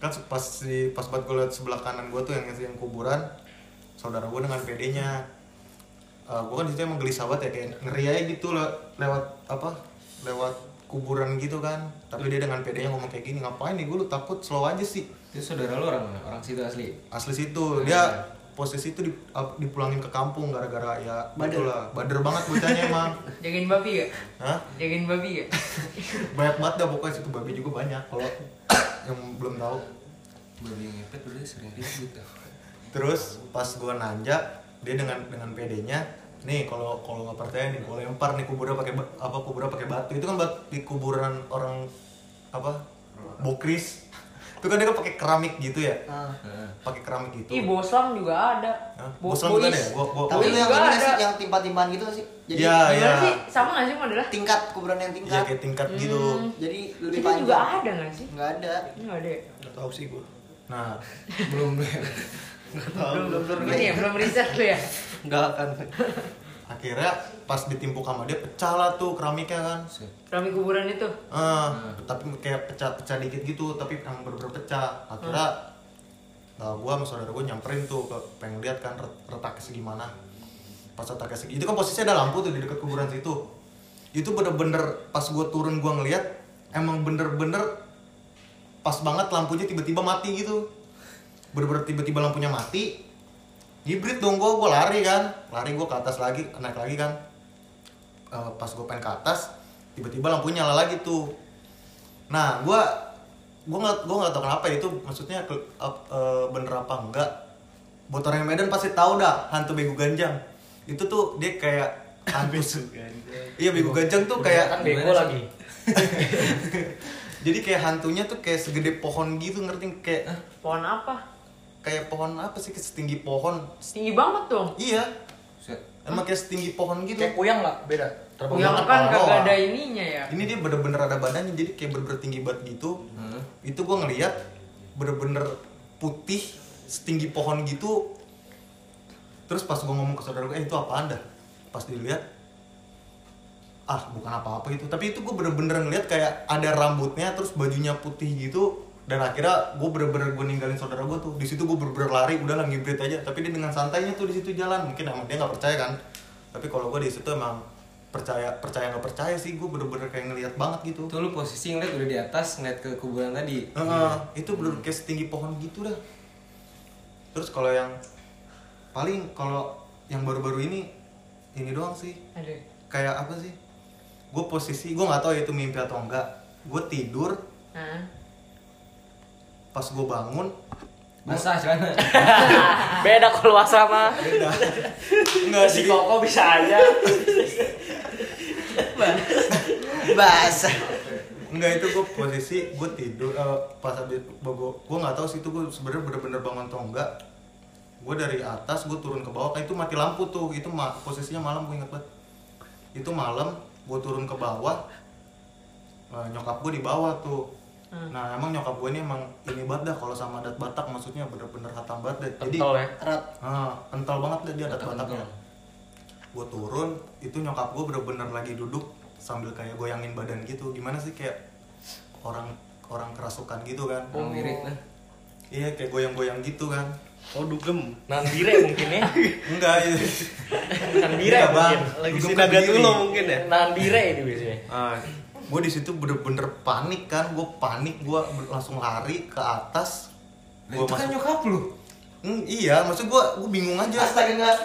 Speaker 7: kan se- pas di pas banget gue liat sebelah kanan gue tuh yang yang kuburan saudara gue dengan PD-nya gue kan di situ emang gelisah banget ya kayak ngeri aja gitu le- lewat apa lewat kuburan gitu kan tapi dia dengan PD-nya ngomong kayak gini ngapain nih gue lu takut slow aja sih
Speaker 5: Itu saudara lu orang mana? Orang situ asli.
Speaker 7: asli situ dia posisi itu di, ap- dipulangin ke kampung gara-gara ya bader lah bader banget bocahnya emang
Speaker 4: Jagain babi gak?
Speaker 7: Hah?
Speaker 4: Jagain babi gak?
Speaker 7: banyak banget dah pokoknya situ babi juga banyak kalau yang belum tahu
Speaker 5: Babi ngepet dulu dia "Ya, gitu." sering ribut.
Speaker 7: terus pas gua nanjak dia dengan dengan PD-nya nih kalau kalau nggak percaya nih gua lempar nih kuburan pakai ba- apa kuburan pakai batu itu kan bat, di kuburan orang apa bokris itu kan dia kan pakai keramik gitu ya
Speaker 2: Ah.
Speaker 7: pakai keramik gitu
Speaker 4: Ih, Boslam juga ada.
Speaker 7: Hah?
Speaker 4: Bo-
Speaker 7: Boslam juga
Speaker 4: Bois.
Speaker 7: ada ya? Bo- bo-
Speaker 2: Tapi
Speaker 4: Bois
Speaker 2: lu yang
Speaker 4: juga
Speaker 2: ini
Speaker 4: ada.
Speaker 2: sih yang timpa-timpaan gitu nggak sih. Jadi
Speaker 7: Iya,
Speaker 4: Gimana
Speaker 7: iya.
Speaker 4: sih? Sama gak sih modelnya?
Speaker 2: tingkat kuburan yang
Speaker 7: Iya
Speaker 2: tingkat.
Speaker 7: kayak tingkat gitu.
Speaker 2: Jadi lebih
Speaker 4: Itu
Speaker 2: panjang.
Speaker 4: juga ada gak sih?
Speaker 2: Nggak ada.
Speaker 4: Enggak ada ya?
Speaker 6: Gak tau sih gue
Speaker 7: Nah,
Speaker 5: Belum
Speaker 4: Belum, belum, belum, ini ya? belum riset lu ya?
Speaker 6: Gak akan
Speaker 7: akhirnya pas ditimpuk sama dia pecah lah tuh keramiknya kan.
Speaker 4: Keramik kuburan itu?
Speaker 7: Eh, tapi kayak pecah-pecah dikit gitu, tapi emang bener-bener pecah. Akhirnya eh, gua sama saudara gua nyamperin tuh ke pengen lihat kan ret- retaknya segimana. Pas retaknya segi itu kan posisinya ada lampu tuh di dekat kuburan situ. Itu bener-bener pas gua turun gua ngeliat emang bener-bener pas banget lampunya tiba-tiba mati gitu. Bener-bener tiba-tiba lampunya mati. Hibrid dong gua, gua lari kan. Lari gua ke atas lagi, naik lagi kan. Eh, pas gue pengen ke atas tiba-tiba lampunya nyala lagi tuh nah gue gue nggak gue nggak tahu kenapa ya, itu maksudnya ke- ap- eh, bener apa enggak buat orang yang Medan pasti tahu dah hantu bego ganjang itu tuh dia kayak hantu iya bego ganjang tuh kayak
Speaker 3: kan bego lagi
Speaker 7: jadi kayak hantunya tuh kayak segede pohon gitu ngerti kayak
Speaker 4: Pohon apa?
Speaker 7: kayak pohon apa sih kayak setinggi pohon
Speaker 4: Tinggi banget dong.
Speaker 7: iya
Speaker 5: Set.
Speaker 7: emang kayak setinggi pohon gitu
Speaker 3: kayak kuyang lah beda terbang
Speaker 4: Yang
Speaker 7: banget
Speaker 4: kan
Speaker 7: pohon
Speaker 4: kagak
Speaker 7: doang.
Speaker 4: ada ininya ya.
Speaker 7: ini dia bener-bener ada badannya jadi kayak bener-bener tinggi banget gitu
Speaker 5: Heeh.
Speaker 7: itu gue ngeliat bener-bener putih setinggi pohon gitu terus pas gue ngomong ke saudara gue eh itu apaan dah pas dilihat ah bukan apa-apa gitu tapi itu gue bener-bener ngeliat kayak ada rambutnya terus bajunya putih gitu dan akhirnya gue bener-bener gue ninggalin saudara gue tuh di situ gue bener-bener lari udah lah ngibrit aja tapi dia dengan santainya tuh di situ jalan mungkin emang dia nggak percaya kan tapi kalau gue di situ emang percaya percaya nggak percaya sih gue bener-bener kayak ngeliat banget gitu
Speaker 5: Itu lu posisi ngeliat udah di atas ngeliat ke kuburan tadi.
Speaker 7: Heeh, itu bener kayak setinggi pohon gitu dah. Terus kalau yang paling kalau yang baru-baru ini ini doang sih.
Speaker 4: Aduh.
Speaker 7: Kayak apa sih? Gue posisi gue nggak tahu ya itu mimpi atau enggak. Gue tidur
Speaker 4: Hah?
Speaker 7: pas gue bangun
Speaker 5: Basah celana.
Speaker 3: beda kalau asrama
Speaker 7: beda. Enggak sih.
Speaker 3: si koko bisa aja
Speaker 2: Bahasa.
Speaker 7: Enggak itu gue posisi gue tidur eh, pas habis gue nggak tahu sih itu gue sebenarnya bener-bener bangun atau enggak. Gue dari atas gue turun ke bawah kayak itu mati lampu tuh itu ma- posisinya malam gue inget banget. Itu malam gue turun ke bawah eh, nyokap gue di bawah tuh. Nah emang nyokap gue ini emang ini banget dah kalau sama adat Batak maksudnya bener-bener hatam banget dah. Jadi
Speaker 3: pentol ya
Speaker 2: Erat.
Speaker 7: ah, kental banget dah dia adat
Speaker 5: Kental,
Speaker 7: Bataknya.
Speaker 5: kental.
Speaker 7: Gue turun itu nyokap gue bener-bener lagi duduk sambil kayak goyangin badan gitu gimana sih kayak orang orang kerasukan gitu kan
Speaker 5: Orang mirip nah. lah.
Speaker 7: iya kayak goyang-goyang gitu kan
Speaker 6: Oh dugem
Speaker 3: nandire mungkin ya
Speaker 7: enggak iya.
Speaker 3: nandire
Speaker 7: Iya, Bang. kan
Speaker 3: mungkin
Speaker 6: Lagi
Speaker 7: Dugem
Speaker 6: sinaga
Speaker 7: kediri.
Speaker 6: dulu mungkin ya
Speaker 3: nandire itu biasanya
Speaker 7: Ah, gue di situ bener-bener panik kan gue panik gue langsung lari ke atas gue
Speaker 5: Nah, itu kan
Speaker 7: masuk
Speaker 5: nyokap lu.
Speaker 7: Hmm, iya maksud gue gue bingung aja
Speaker 2: Astaga nggak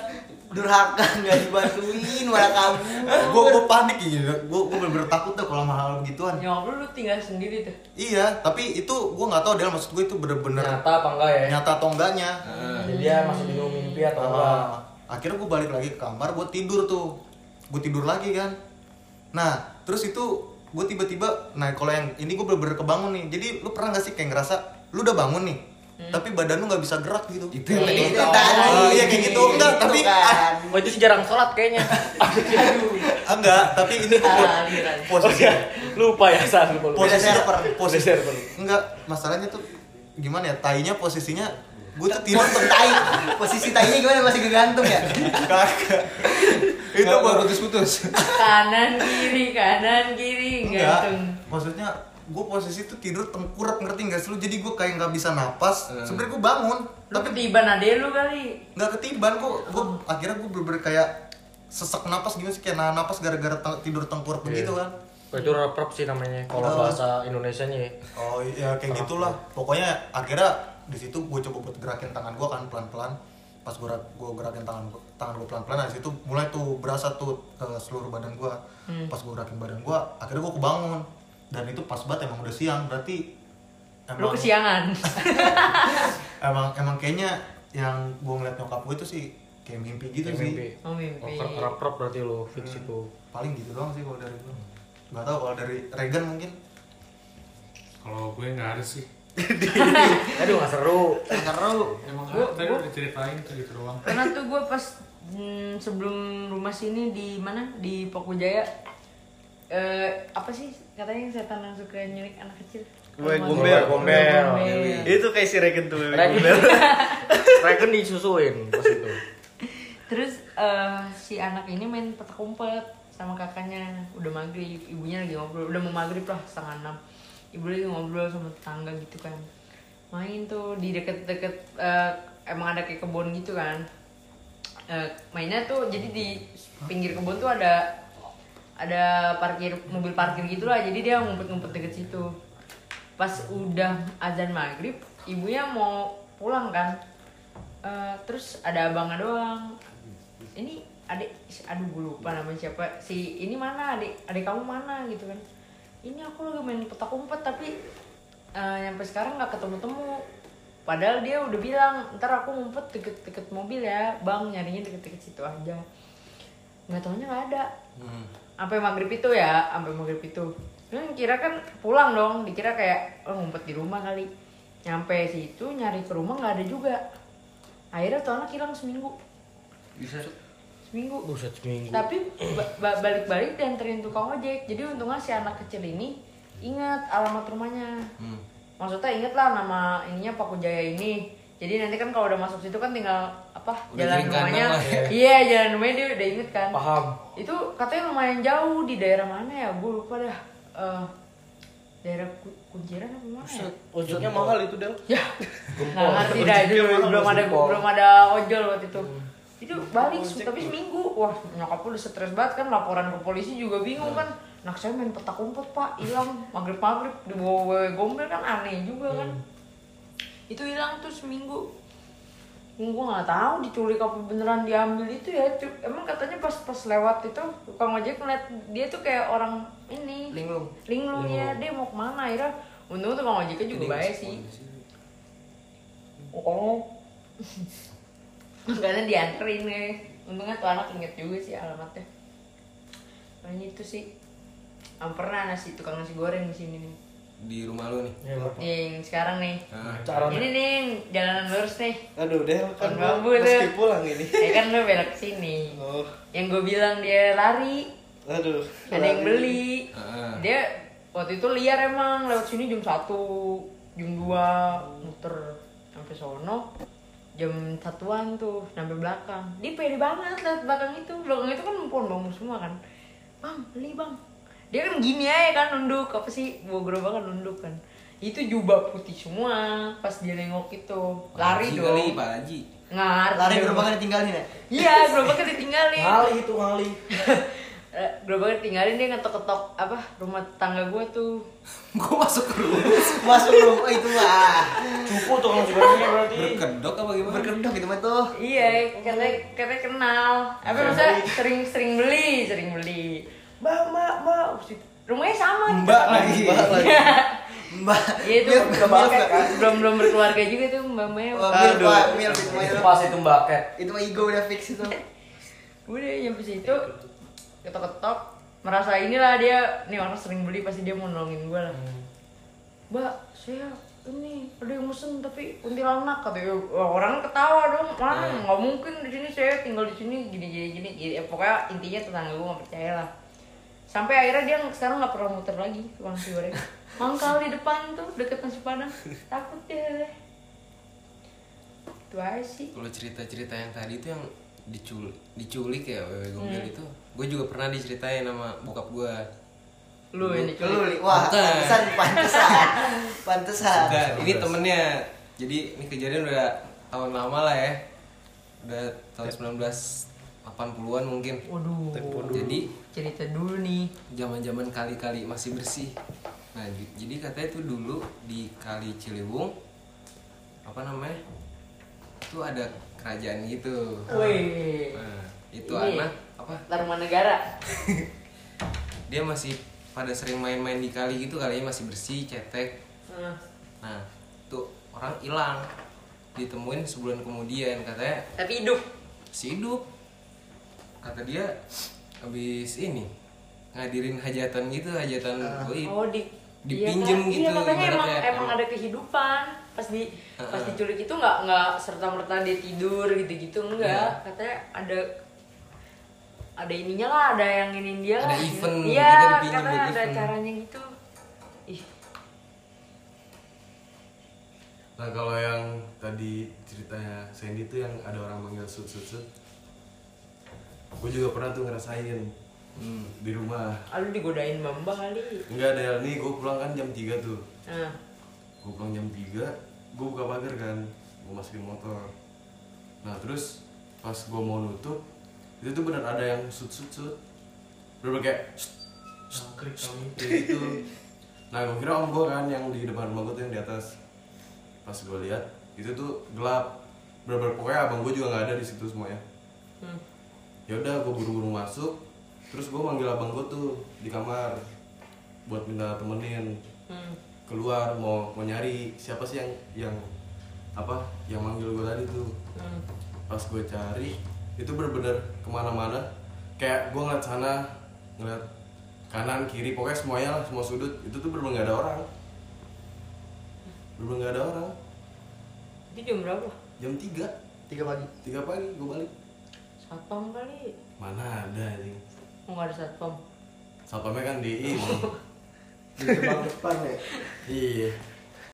Speaker 2: durhaka nggak dibantuin malah kabur.
Speaker 7: gue gue panik gitu gue gue bener-bener takut tuh kalau mahal begituan
Speaker 4: Nyokap lu, lu tinggal sendiri tuh.
Speaker 7: iya tapi itu gue nggak tahu dia maksud gue itu bener-bener
Speaker 3: nyata apa enggak ya
Speaker 7: nyata atau enggaknya
Speaker 3: jadi dia masih bingung mimpi atau enggak
Speaker 7: Nah. Ah, akhirnya gue balik lagi ke kamar gue tidur tuh gue tidur lagi kan nah terus itu gue tiba-tiba nah kalau yang ini gue bener-bener kebangun nih jadi lu pernah gak sih kayak ngerasa lu udah bangun nih tapi badan lu nggak bisa gerak gitu
Speaker 5: Itu yang tadi.
Speaker 2: Itu tadi.
Speaker 7: Oh, iya, kayak gitu. Enggak,
Speaker 2: Gitu
Speaker 7: tapi-
Speaker 2: kan.
Speaker 3: Oh itu sih jarang sholat kayaknya
Speaker 7: Ah, enggak tapi ini gue
Speaker 4: Ah, aliran.
Speaker 5: Oh,
Speaker 7: posisi
Speaker 5: iya.
Speaker 3: Lupa ya saat lupa lupa
Speaker 7: posisinya
Speaker 2: server.
Speaker 7: posisi
Speaker 3: Beda server.
Speaker 7: enggak masalahnya tuh gimana ya tainya posisinya gue tuh tidur
Speaker 2: Potong tai. Posisi tainya gimana masih kegantung ya?
Speaker 7: kagak itu
Speaker 5: Nggak, nggak
Speaker 7: baru
Speaker 5: putus-putus
Speaker 4: kanan kiri kanan kiri
Speaker 7: enggak
Speaker 4: gantung
Speaker 7: maksudnya gue posisi tuh tidur tengkurap ngerti nggak sih lu jadi gue kayak nggak bisa napas
Speaker 5: Hmm.
Speaker 7: sebenernya gue bangun
Speaker 4: lu
Speaker 7: tapi
Speaker 4: ketiban ade lu kali
Speaker 7: nggak ketiban kok gue akhirnya gue bener-bener kayak sesak napas gimana sih kayak nahan napas gara-gara te- tidur tengkurap begitu kan
Speaker 3: Oh, itu reprap sih namanya kalau
Speaker 7: Udah.
Speaker 3: bahasa Indonesia nya ya.
Speaker 7: oh iya kayak gitulah pokoknya akhirnya di situ gue coba buat gerakin tangan gue kan pelan-pelan pas gue gue gerakin tangan gua- tangan gue pelan-pelan dari situ mulai tuh berasa tuh ke seluruh badan gue pas gue gerakin badan gue akhirnya gue kebangun dan itu pas banget emang udah siang berarti
Speaker 4: lu kesiangan
Speaker 7: emang emang kayaknya yang gue ngeliat nyokap gue itu sih kayak mimpi gitu sih
Speaker 4: oh mimpi
Speaker 3: reprap berarti lo fix itu
Speaker 7: paling gitu doang sih kalau dari gue nggak tahu kalau dari Regan mungkin
Speaker 9: Kalau gue nggak ada sih.
Speaker 3: aduh nggak seru
Speaker 2: Seru.
Speaker 9: Emang
Speaker 4: Gua-
Speaker 9: ada tadi
Speaker 4: gua-
Speaker 9: udah diceritain tuh gitu doang.
Speaker 4: pernah tuh gue pas mm, sebelum rumah sini di mana di Pokojaya eh apa sih katanya setan yang suka nyulik anak kecil
Speaker 6: Gue
Speaker 4: Rumah-
Speaker 6: gombel.
Speaker 4: Gue gombel.
Speaker 6: Itu kayak si Regen tuh.
Speaker 3: Regen. Regen disusuin pas itu
Speaker 4: Terus eh, si anak ini main petak umpet sama kakaknya udah maghrib, ibunya lagi ngobrol, udah mau maghrib lah setengah enam. Ibu lagi ngobrol sama tetangga gitu kan, main tuh di deket-deket eh, emang ada kayak kebun gitu kan. Eh, mainnya tuh jadi di pinggir kebun tuh ada ada parkir mobil parkir gitulah, jadi dia ngumpet-ngumpet deket situ. Pas udah azan maghrib, ibunya mau pulang kan, Eh, terus ada abangnya doang ini adik aduh gue lupa namanya siapa si ini mana adik adik kamu mana gitu kan ini aku lagi main petak umpet tapi eh, sampai sekarang nggak ketemu temu padahal dia udah bilang ntar aku ngumpet deket-deket mobil ya bang nyarinya deket-deket situ aja nggak taunya nggak ada sampai maghrib itu ya sampai maghrib itu kan kira kan pulang dong dikira kayak oh, ngumpet di rumah kali nyampe situ nyari ke rumah nggak ada juga akhirnya tuh anak hilang seminggu
Speaker 5: bisa
Speaker 4: seminggu
Speaker 3: buset seminggu
Speaker 4: tapi ba- ba- balik-balik dianterin tukang ojek jadi untungnya si anak kecil ini ingat alamat rumahnya
Speaker 5: hmm.
Speaker 4: maksudnya inget lah nama ininya Paku Jaya ini jadi nanti kan kalau udah masuk situ kan tinggal apa
Speaker 5: Udah
Speaker 4: jalan
Speaker 5: kiri kanan
Speaker 4: rumahnya
Speaker 5: lah ya.
Speaker 4: iya jalan rumahnya dia udah inget kan
Speaker 3: paham
Speaker 4: itu katanya lumayan jauh di daerah mana ya gue lupa dah Eh, daerah Ku- kunciran apa mana ya?
Speaker 6: Ojeknya mahal itu, Del.
Speaker 4: ya nggak ngerti dah itu belum ada belum ada ojol waktu itu itu balik tapi seminggu wah nyokap udah stres banget kan laporan ke polisi juga bingung kan anak saya main petak umpet pak hilang maghrib maghrib dibawa wewe gombel kan aneh juga kan itu hilang tuh seminggu gue nggak tahu diculik apa beneran diambil itu ya cu- emang katanya pas pas lewat itu tukang ojek ngeliat dia tuh kayak orang ini linglung linglung ya dia mau kemana akhirnya untung tukang ojeknya juga baik sih Oh. Makanya dianterin nih. Untungnya tuh anak inget juga sih alamatnya. Makanya itu sih. Am pernah nasi tukang nasi goreng di sini nih.
Speaker 5: di rumah lu nih
Speaker 4: Yang sekarang nih.
Speaker 5: nah,
Speaker 4: Ini nih jalanan lurus nih.
Speaker 6: Aduh, Del
Speaker 4: Kan
Speaker 6: kan
Speaker 4: bambu,
Speaker 6: gua
Speaker 4: Del.
Speaker 6: mesti pulang ini.
Speaker 4: Ya kan lu belok sini.
Speaker 6: Oh,
Speaker 4: Yang gue bilang dia lari,
Speaker 6: aduh.
Speaker 4: ada yang beli.
Speaker 5: Heeh.
Speaker 4: Dia waktu itu liar emang lewat sini jam 1, jam 2 muter sampai sono jam satuan tuh sampai belakang dia pede banget lihat belakang itu belakang itu kan pohon bambu semua kan bang beli bang dia kan gini aja kan nunduk apa sih bawa gerobak kan nunduk kan itu jubah putih semua pas dia nengok itu lari
Speaker 5: Haji kali,
Speaker 4: dong
Speaker 5: Pak Haji
Speaker 4: ngar
Speaker 2: Lari gerobaknya ditinggalin ya.
Speaker 4: iya gerobaknya ditinggalin
Speaker 3: itu ngali
Speaker 4: Eh, gerobaknya tinggalin dia ngetok-ketok apa rumah tetangga gue tuh
Speaker 5: gua masuk ke rumah
Speaker 2: Masuk rumah Oh, itu mah.
Speaker 3: cupu tuh kalau sebenarnya berarti
Speaker 5: berkedok apa gimana
Speaker 2: Berkedok gitu mah tuh.
Speaker 4: iya katanya katanya kenal apa maksudnya sering sering beli sering beli mbak mbak mbak rumahnya sama nih
Speaker 5: mbak lagi
Speaker 2: Mbak.
Speaker 4: Iya itu
Speaker 2: Mir,
Speaker 4: belum,
Speaker 2: maaf ya kan.
Speaker 4: belum belum berkeluarga juga tuh mbak Maya.
Speaker 2: Wah, Mir,
Speaker 6: Aduh.
Speaker 2: Pak, Mir, itu mah itu.
Speaker 3: pas itu mbaket
Speaker 2: Itu mah ego udah fix itu.
Speaker 4: Udah nyampe situ ketok-ketok merasa inilah dia nih orang sering beli pasti dia mau nolongin gue lah. Mbak, saya ini ada yang mesen tapi kuntilanak katanya Wah, orang ketawa dong mana nggak mungkin di sini saya tinggal di sini gini gini gini Ya, pokoknya intinya tetangga gue nggak percaya lah sampai akhirnya dia sekarang nggak pernah muter lagi tukang nasi goreng mangkal di depan tuh deket nasi padang takut deh itu aja sih
Speaker 5: Kalau cerita-cerita yang tadi itu yang diculik, diculik ya wewe gombel
Speaker 4: Hmm.
Speaker 5: itu, gue juga pernah diceritain sama bokap gue.
Speaker 4: lu ini
Speaker 2: Lu
Speaker 4: cuy
Speaker 2: li, wah,
Speaker 5: Bukan.
Speaker 2: pantesan, pantesan, pantesan.
Speaker 4: Ah.
Speaker 5: Enggak, ini temennya. Jadi ini kejadian udah tahun lama lah ya. Udah tahun 1980-an mungkin.
Speaker 4: waduh
Speaker 5: Jadi
Speaker 4: cerita dulu nih
Speaker 5: zaman-zaman kali-kali masih bersih. Nah, j- jadi katanya itu dulu di Kali Ciliwung apa namanya? Itu ada kerajaan gitu.
Speaker 4: wih
Speaker 5: Nah, itu
Speaker 4: Ini.
Speaker 5: anak apa?
Speaker 4: Dharma Negara
Speaker 5: Dia masih pada sering main-main di kali gitu kali ya, masih bersih, cetek.
Speaker 4: Nah,
Speaker 5: Nah, tuh orang hilang. Ditemuin sebulan kemudian katanya
Speaker 4: tapi hidup
Speaker 5: si hidup kata dia habis ini ngadirin hajatan gitu hajatan goib
Speaker 4: oh di
Speaker 5: Dipinjem
Speaker 4: iya, Kak.
Speaker 5: gitu,
Speaker 4: iya makanya emang
Speaker 5: ibaratnya.
Speaker 4: emang ada kehidupan pas di pas diculik itu nggak nggak serta merta dia tidur gitu gitu
Speaker 5: Iya.
Speaker 4: enggak katanya ada ada ininya lah ada yang ini dia
Speaker 5: Ada
Speaker 4: lah gitu.
Speaker 5: event,
Speaker 4: iya
Speaker 5: kita dipinjem
Speaker 4: katanya
Speaker 5: buat
Speaker 4: ada
Speaker 5: event.
Speaker 4: caranya gitu ih
Speaker 7: Nah kalau yang tadi ceritanya Sandy tuh yang ada orang manggil sut sut sut Gue juga pernah tuh ngerasain di rumah
Speaker 4: ah, lu digodain bamba kali
Speaker 7: Enggak ada nih gue pulang kan jam 3 tuh
Speaker 4: nah
Speaker 7: Gue pulang jam 3 Gue buka pagar kan Gue masukin motor Nah terus pas gue mau nutup Itu tuh bener ada yang sut sut sut Bener kayak sut, kayak gitu nah gue kira om gue kan yang di depan rumah gue tuh yang di atas pas gue lihat itu tuh gelap berber pokoknya abang gue juga nggak ada di situ semuanya
Speaker 4: Hmm.
Speaker 7: ya udah gue buru-buru masuk terus gue manggil abang gue tuh di kamar buat minta temenin
Speaker 4: hmm.
Speaker 7: keluar mau mau nyari siapa sih yang yang apa yang manggil gue tadi tuh
Speaker 4: hmm.
Speaker 7: pas gue cari itu bener-bener kemana-mana kayak gue ngeliat sana ngeliat kanan kiri pokoknya semuanya lah semua sudut itu tuh bener-bener gak ada orang bener-bener gak ada orang
Speaker 4: itu jam berapa
Speaker 7: jam 3
Speaker 2: Tiga pagi.
Speaker 7: 3 pagi gue balik
Speaker 4: satpam kali
Speaker 7: mana ada anjing
Speaker 4: oh, nggak ada satpam
Speaker 7: satpamnya kan di ini
Speaker 2: Di gerbang depan ya.
Speaker 7: iya